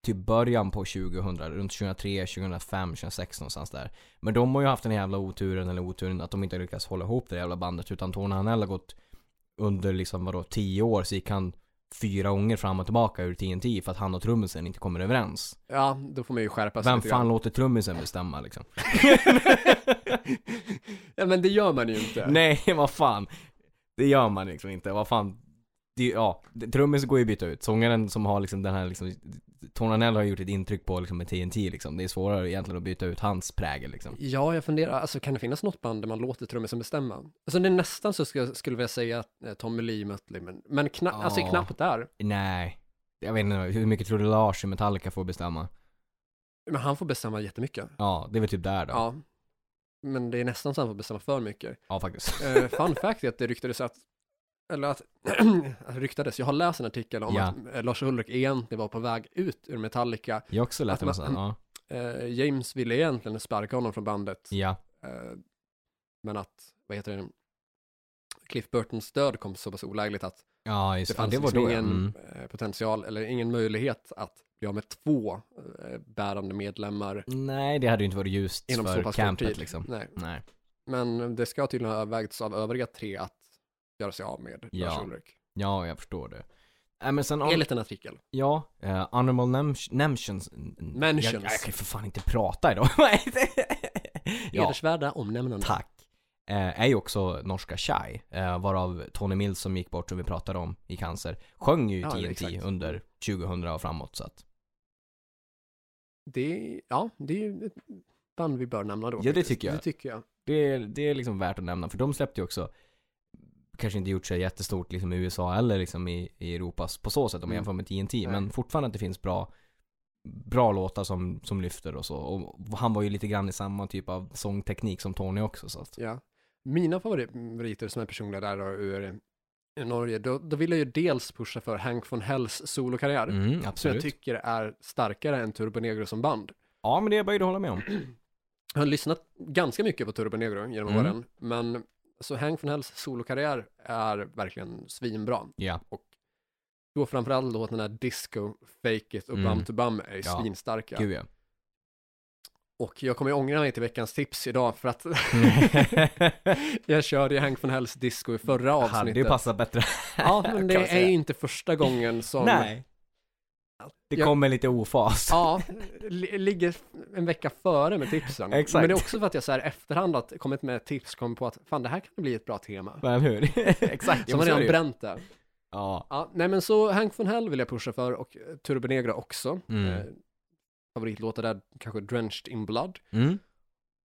Speaker 1: till början på 2000, runt 2003, 2005, 2006 någonstans där. Men de har ju haft den jävla oturen, eller oturen, att de inte har lyckats hålla ihop det jävla bandet. Utan Tony Hanell har gått under liksom vadå, 10 år så gick han fyra gånger fram och tillbaka ur TNT för att han och trummisen inte kommer överens.
Speaker 2: Ja, då får man ju skärpa sig
Speaker 1: Vem
Speaker 2: Alltså, lite
Speaker 1: fan
Speaker 2: grann. [LAUGHS]
Speaker 1: låter trummisen bestämma liksom?
Speaker 2: ja, men det gör man ju inte.
Speaker 1: Nej, [LAUGHS] vad fan. Det gör man liksom inte. Vad fan. Det, ja, det- trummisen går ju att byta ut. Sångaren som har liksom den här liksom, Tony Hanell har gjort ett intryck på liksom med TNT liksom. Det är svårare egentligen att byta ut hans prägel liksom.
Speaker 2: Ja, jag funderar, alltså kan det finnas något band där man låter trummisen bestämma? Alltså det är nästan så skulle, skulle jag vilja säga att eh, Tommy Lee Mötley, men, men kna-
Speaker 1: Ja.
Speaker 2: alltså knappt där.
Speaker 1: Nej. Jag vet inte, hur mycket tror du Lars i Metallica får bestämma?
Speaker 2: Men han får bestämma jättemycket.
Speaker 1: Ja, det är väl typ där då. Ja,
Speaker 2: Ja. Men det är nästan så han får bestämma för mycket.
Speaker 1: faktiskt.
Speaker 2: Eh, fun fact är att det ryktades att, eller att, [CLEARS THROAT] att det ryktades, jag har läst en artikel om
Speaker 1: Ja.
Speaker 2: att eh, Lars Ulrik egentligen var på väg ut ur Metallica.
Speaker 1: [LAUGHS] Jag har också
Speaker 2: Att
Speaker 1: lät
Speaker 2: man-
Speaker 1: mig sen. Ja.
Speaker 2: Eh, James ville egentligen sparka honom från bandet,
Speaker 1: ja.
Speaker 2: eh, men att, vad heter det, Cliff Burtons död kom så pass olägligt att
Speaker 1: Ja, just det.
Speaker 2: det
Speaker 1: Ja,
Speaker 2: fanns
Speaker 1: det var
Speaker 2: liksom
Speaker 1: då ja.
Speaker 2: ingen
Speaker 1: mm.
Speaker 2: eh, potential eller ingen möjlighet att bli av med två eh, bärande medlemmar
Speaker 1: Nej, det hade ju inte varit ljust
Speaker 2: inom så
Speaker 1: för
Speaker 2: pass kort
Speaker 1: campet
Speaker 2: tid.
Speaker 1: liksom.
Speaker 2: Nej.
Speaker 1: Nej.
Speaker 2: Men det ska tydligen ha övervägts av övriga tre att göra sig av med Lars
Speaker 1: Ja.
Speaker 2: Ulrik.
Speaker 1: Ja, jag förstår det. Nej men sen, om,
Speaker 2: Enligt en artikel.
Speaker 1: ja, uh, Animal Nemtions... Nemtions.
Speaker 2: Mentions.
Speaker 1: Jag, jag kan ju för fan inte prata idag. [LAUGHS] ja,
Speaker 2: Hedersvärda omnämnanden.
Speaker 1: tack. Eh, är ju också norska Chai, eh, varav Tony Mills som gick bort som vi pratade om i cancer, sjöng ju
Speaker 2: Ja, det är
Speaker 1: TNT
Speaker 2: exakt.
Speaker 1: under 2000 och framåt så att,
Speaker 2: Det, ja, det är ju ett band vi bör nämna då.
Speaker 1: Ja, det
Speaker 2: faktiskt.
Speaker 1: tycker jag.
Speaker 2: Det tycker jag.
Speaker 1: det är, det är liksom värt att nämna, för de släppte ju också kanske inte gjort sig jättestort liksom i USA eller liksom i, i Europa på så sätt om man
Speaker 2: Mm.
Speaker 1: jämför med TNT,
Speaker 2: Nej.
Speaker 1: men fortfarande att det finns bra bra låtar som, som lyfter och så. Och han var ju lite grann i samma typ av sångteknik som Tony också så att,
Speaker 2: Ja. Mina favoriter som är personliga där då, ur eh, Norge, då, då vill jag ju dels pusha för Hank von Hells solokarriär,
Speaker 1: mm,
Speaker 2: som jag
Speaker 1: absolut.
Speaker 2: tycker är starkare än Turbo Negro som band.
Speaker 1: Ja men det är jag böjd att hålla med om.
Speaker 2: Jag har lyssnat ganska mycket på Turbo Negro genom
Speaker 1: Mm.
Speaker 2: åren, men så Hank von Hells solokarriär är verkligen svinbra.
Speaker 1: Ja,
Speaker 2: Då framförallt låten där Disco, Fake It och
Speaker 1: Mm.
Speaker 2: Bum to Bum är
Speaker 1: Ja.
Speaker 2: svinstarka.
Speaker 1: gud
Speaker 2: [LAUGHS]
Speaker 1: ja.
Speaker 2: Och jag kommer ju ångra mig till veckans tips idag för att [LAUGHS] jag körde ju Hank von Hells disco i förra
Speaker 1: Hade ju
Speaker 2: avsnittet.
Speaker 1: passat bättre.
Speaker 2: ja, men det
Speaker 1: kan man
Speaker 2: är
Speaker 1: säga.
Speaker 2: ju inte första gången som
Speaker 1: Nej. Det
Speaker 2: Ja.
Speaker 1: kommer lite ofas.
Speaker 2: Ja, li- ligger en vecka före med tipsen.
Speaker 1: Exakt.
Speaker 2: Men det är också för att jag så här efterhand har kommit med tips, kom på att fan det här kan bli ett bra tema.
Speaker 1: [LAUGHS] Men hur? [LAUGHS] Exakt.
Speaker 2: Så
Speaker 1: ja, men
Speaker 2: man
Speaker 1: så är
Speaker 2: redan
Speaker 1: det ju.
Speaker 2: bränt det.
Speaker 1: Ja.
Speaker 2: Ja, nej men så Hank von Hell vill jag pusha för och eh, Turbo Negra också.
Speaker 1: Mm.
Speaker 2: Eh, favoritlåtar där, kanske Drenched in Blood.
Speaker 1: Mm.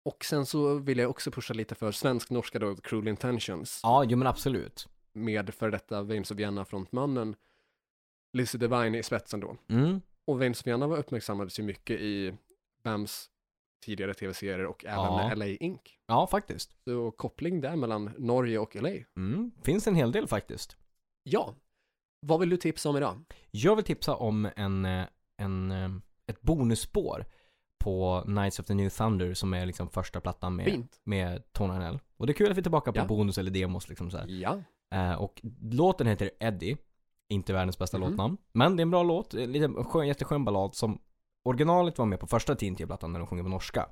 Speaker 2: Och sen så vill jag också pusha lite för svensk-norska då, Cruel Intentions,
Speaker 1: Ja, jo men absolut.
Speaker 2: med före detta Veins of Vienna-frontmannen Lizzie Devine i spetsen då.
Speaker 1: Mm.
Speaker 2: Och Veins of Vienna var uppmärksammades ju mycket i Bams tidigare tv-serier och även
Speaker 1: Ja.
Speaker 2: LA Inc.
Speaker 1: Ja, faktiskt.
Speaker 2: Så koppling där mellan Norge och LA.
Speaker 1: Mm. Finns en hel del faktiskt.
Speaker 2: Ja, vad vill du tipsa om idag?
Speaker 1: Jag vill tipsa om en, eh, en, eh, ett bonusspår på Knights of the New Thunder som är liksom första plattan med,
Speaker 2: Fint.
Speaker 1: med Tony Harnell. Och det är kul att vi är tillbaka på
Speaker 2: Ja.
Speaker 1: bonus eller demos liksom så här.
Speaker 2: Ja,
Speaker 1: Eh, och låten heter Eddie. Inte världens bästa
Speaker 2: Mhm.
Speaker 1: låtnamn. Men det är en bra låt. En liten skön, jätteskön ballad som originalet var med på första Tintin-plattan när de sjunger på norska.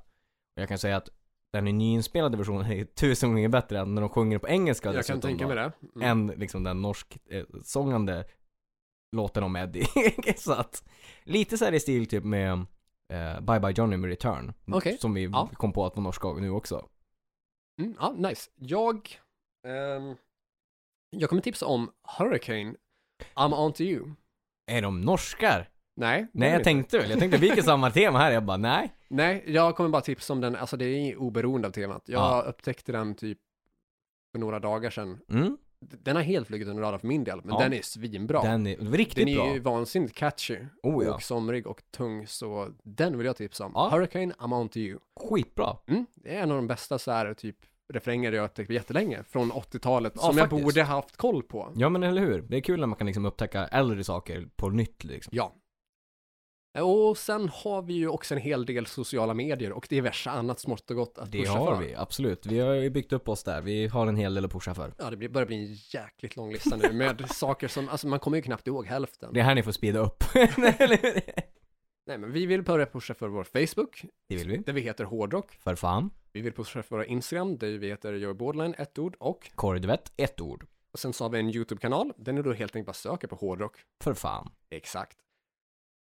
Speaker 1: Och jag kan säga att den nyinspelade versionen är tusen gånger bättre än när de sjunger på engelska
Speaker 2: jag
Speaker 1: dessutom
Speaker 2: kan tänka
Speaker 1: då,
Speaker 2: mig det. Mm.
Speaker 1: Än liksom den norsk eh, sångande låten om Eddie. [LAUGHS] så att, lite så här i stil typ med eh, Bye Bye Johnny med Return.
Speaker 2: Okej.
Speaker 1: Som vi
Speaker 2: Ja.
Speaker 1: kom på att var norska nu också.
Speaker 2: Mm, ja, nice. Jag, ehm, jag kommer tipsa om Hurricane, I'm on to you.
Speaker 1: Är de norskar?
Speaker 2: Nej, det
Speaker 1: Nej
Speaker 2: är
Speaker 1: jag
Speaker 2: det
Speaker 1: tänkte väl, jag tänkte vi kan samma tema här, jag bara nej.
Speaker 2: inte. nej, jag kommer bara tipsa om den, alltså det är oberoende av temat. Jag
Speaker 1: Ja.
Speaker 2: upptäckte den typ för några dagar sedan.
Speaker 1: Mm.
Speaker 2: D- Den har helt flugit under radarn för min del, men
Speaker 1: Ja.
Speaker 2: den är svinbra. Den,
Speaker 1: Den är riktigt
Speaker 2: är
Speaker 1: bra.
Speaker 2: ju vansinnigt catchy
Speaker 1: Oh ja,
Speaker 2: och somrig och tung, så den vill jag tipsa om.
Speaker 1: Ja.
Speaker 2: Hurricane, I'm on to you.
Speaker 1: skitbra.
Speaker 2: Mm, det är en av de bästa så här, typ refränger jag upptäckt på jättelänge, från 80-talet,
Speaker 1: Ja,
Speaker 2: som jag
Speaker 1: faktiskt.
Speaker 2: borde haft koll på.
Speaker 1: Ja men eller hur, det är kul när man kan liksom upptäcka äldre saker på nytt liksom.
Speaker 2: Ja. Och sen har vi ju också en hel del sociala medier och diverse annat smått och gott att
Speaker 1: Det
Speaker 2: pusha
Speaker 1: har
Speaker 2: för.
Speaker 1: vi, absolut. Vi har ju byggt upp oss där, vi har en hel del att pusha för.
Speaker 2: Ja, det blir- börjar bli en jäkligt lång lista nu
Speaker 1: [LAUGHS]
Speaker 2: med saker som, alltså man kommer ju knappt ihåg hälften.
Speaker 1: Det är här ni får speeda upp. [LAUGHS] Eller hur?
Speaker 2: Nej, men vi vill börja pusha för vår Facebook,
Speaker 1: det vill vi.
Speaker 2: där vi heter Hårdrock.
Speaker 1: För fan.
Speaker 2: Vi vill pusha för våra Instagram, där vi heter Joey Borderline, ett ord, och,
Speaker 1: Korvett, ett ord.
Speaker 2: och sen så har vi en YouTube-kanal, den är då helt enkelt bara söker på Hårdrock.
Speaker 1: För fan.
Speaker 2: Exakt.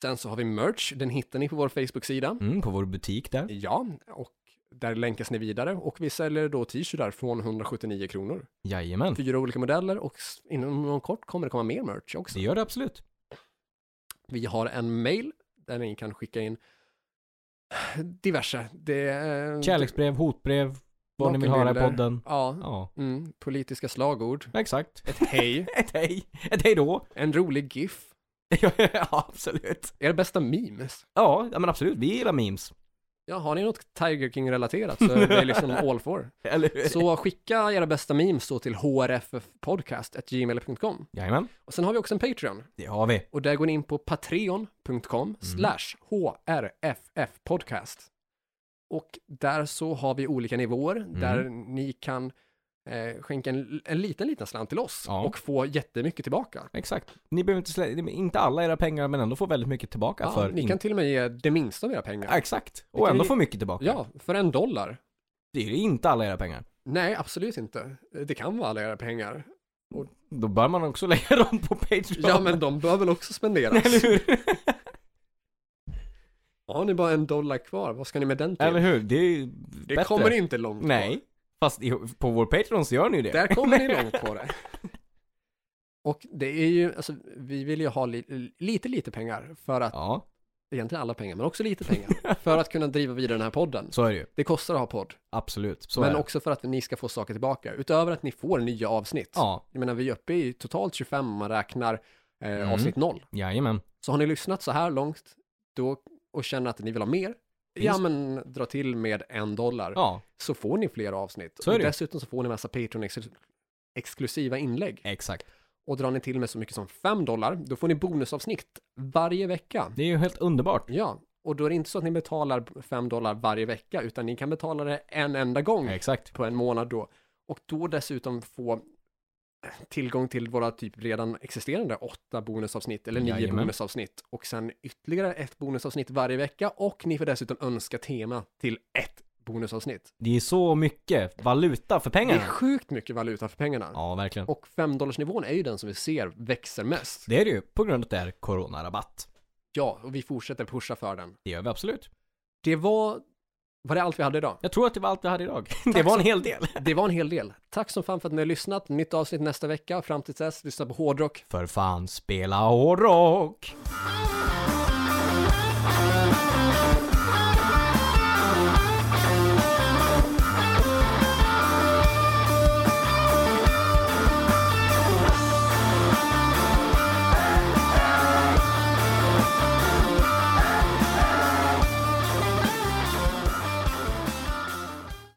Speaker 2: Sen så har vi merch, den hittar ni på vår Facebook-sida.
Speaker 1: Mm, på vår butik där.
Speaker 2: Ja, och där länkas ni vidare och vi säljer då t-shirtar från 179 kronor.
Speaker 1: Jajamän.
Speaker 2: Fyra olika modeller och s- inom någon kort kommer det komma mer merch också.
Speaker 1: Det gör det absolut.
Speaker 2: Mm. Vi har en mail där ni kan skicka in diverse. Det är...
Speaker 1: Kärleksbrev, hotbrev, vad ni vill höra i
Speaker 2: Nakenbilder.
Speaker 1: podden.
Speaker 2: Ja,
Speaker 1: Ja,
Speaker 2: mm, politiska slagord,
Speaker 1: exakt.
Speaker 2: ett hej,
Speaker 1: [LAUGHS] Ett hej. Ett hej då. [LAUGHS]
Speaker 2: en rolig GIF,
Speaker 1: ja, absolut.
Speaker 2: er bästa memes.
Speaker 1: Ja, ja, men absolut. Vi gillar memes.
Speaker 2: Ja, har ni något Tiger King-relaterat så är det liksom all for.
Speaker 1: Eller hur?
Speaker 2: Så skicka era bästa memes då till hrffpodcast.gmail.com.
Speaker 1: Jajamän,
Speaker 2: Och sen har vi också en Patreon.
Speaker 1: det har vi.
Speaker 2: Och där går ni in på patreon.com
Speaker 1: Mm.
Speaker 2: slash hrffpodcast. Och där så har vi olika nivåer
Speaker 1: Mm.
Speaker 2: där ni kan eh, skänka en, en liten, liten slant till oss
Speaker 1: Ja.
Speaker 2: och få jättemycket tillbaka.
Speaker 1: Exakt. Ni behöver inte slä... inte alla era pengar men ändå få väldigt mycket tillbaka
Speaker 2: Ja,
Speaker 1: för...
Speaker 2: ni
Speaker 1: in- Äh,
Speaker 2: kan till och med ge det minsta av era pengar.
Speaker 1: Ja, Exakt.
Speaker 2: Ni
Speaker 1: Och
Speaker 2: kan
Speaker 1: ändå
Speaker 2: ju-
Speaker 1: få mycket tillbaka.
Speaker 2: Ja, för en dollar.
Speaker 1: Det är ju inte alla era pengar.
Speaker 2: Nej, absolut inte. Det kan vara alla era pengar.
Speaker 1: Då bör man också [LAUGHS] lägga dem på Patreon.
Speaker 2: Ja, men de bör väl också
Speaker 1: [LAUGHS] Eller [LAUGHS]
Speaker 2: spenderas.
Speaker 1: hur?
Speaker 2: Har ni bara en dollar kvar, vad ska ni med den till?
Speaker 1: Eller hur? Det är ju
Speaker 2: det
Speaker 1: bättre.
Speaker 2: kommer inte långt kvar.
Speaker 1: Nej. Fast i, på vår Patreon så gör ni ju det.
Speaker 2: Där kommer ni långt på det. [LAUGHS] Och det är ju, alltså vi vill ju ha li, lite, lite pengar för att,
Speaker 1: Ja,
Speaker 2: egentligen alla pengar, men också
Speaker 1: [LAUGHS]
Speaker 2: lite pengar, för att kunna driva vidare den här podden.
Speaker 1: så är det ju.
Speaker 2: Det kostar att ha podd,
Speaker 1: Absolut. Så är
Speaker 2: men
Speaker 1: det.
Speaker 2: också för att ni ska få saker tillbaka, utöver att ni får nya avsnitt.
Speaker 1: Ja,
Speaker 2: Jag menar, vi är uppe i totalt 25 om man räknar eh,
Speaker 1: Mm.
Speaker 2: avsnitt 0.
Speaker 1: jajamän.
Speaker 2: Så har ni lyssnat så här långt då, och känner att ni vill ha mer, ja men dra till med en dollar,
Speaker 1: Ja,
Speaker 2: så får ni fler avsnitt.
Speaker 1: Så är
Speaker 2: och
Speaker 1: det ju.
Speaker 2: dessutom så får ni massa Patreon-exklusiva inlägg.
Speaker 1: exakt.
Speaker 2: och drar ni till med så mycket som 5 dollar, då får ni bonusavsnitt varje vecka.
Speaker 1: Det är ju helt underbart.
Speaker 2: Ja, och då är det inte så att ni betalar 5 dollar varje vecka, utan ni kan betala det en enda gång
Speaker 1: Exakt.
Speaker 2: på en månad då. Och då dessutom få tillgång till våra typ redan existerande åtta bonusavsnitt, eller nio
Speaker 1: Jajamän.
Speaker 2: bonusavsnitt, och sen ytterligare ett bonusavsnitt varje vecka, och ni får dessutom önska tema till ett bonusavsnitt.
Speaker 1: Det är så mycket valuta för
Speaker 2: Det är
Speaker 1: pengarna.
Speaker 2: sjukt mycket valuta för pengarna.
Speaker 1: Ja, verkligen.
Speaker 2: Och 5 dollarsnivån är ju den som vi ser växer mest.
Speaker 1: Det är det ju, på grund av att det är coronarabatt.
Speaker 2: Ja, och vi fortsätter pusha för den.
Speaker 1: Det gör vi absolut.
Speaker 2: Det var, var det allt vi hade idag?
Speaker 1: Jag tror att det var allt vi hade idag. det var en hel del.
Speaker 2: Det var en hel del. Tack som fan för att ni har lyssnat. Nytt avsnitt nästa vecka. Fram till dess, lyssna på hårdrock.
Speaker 1: För fan, spela hårdrock!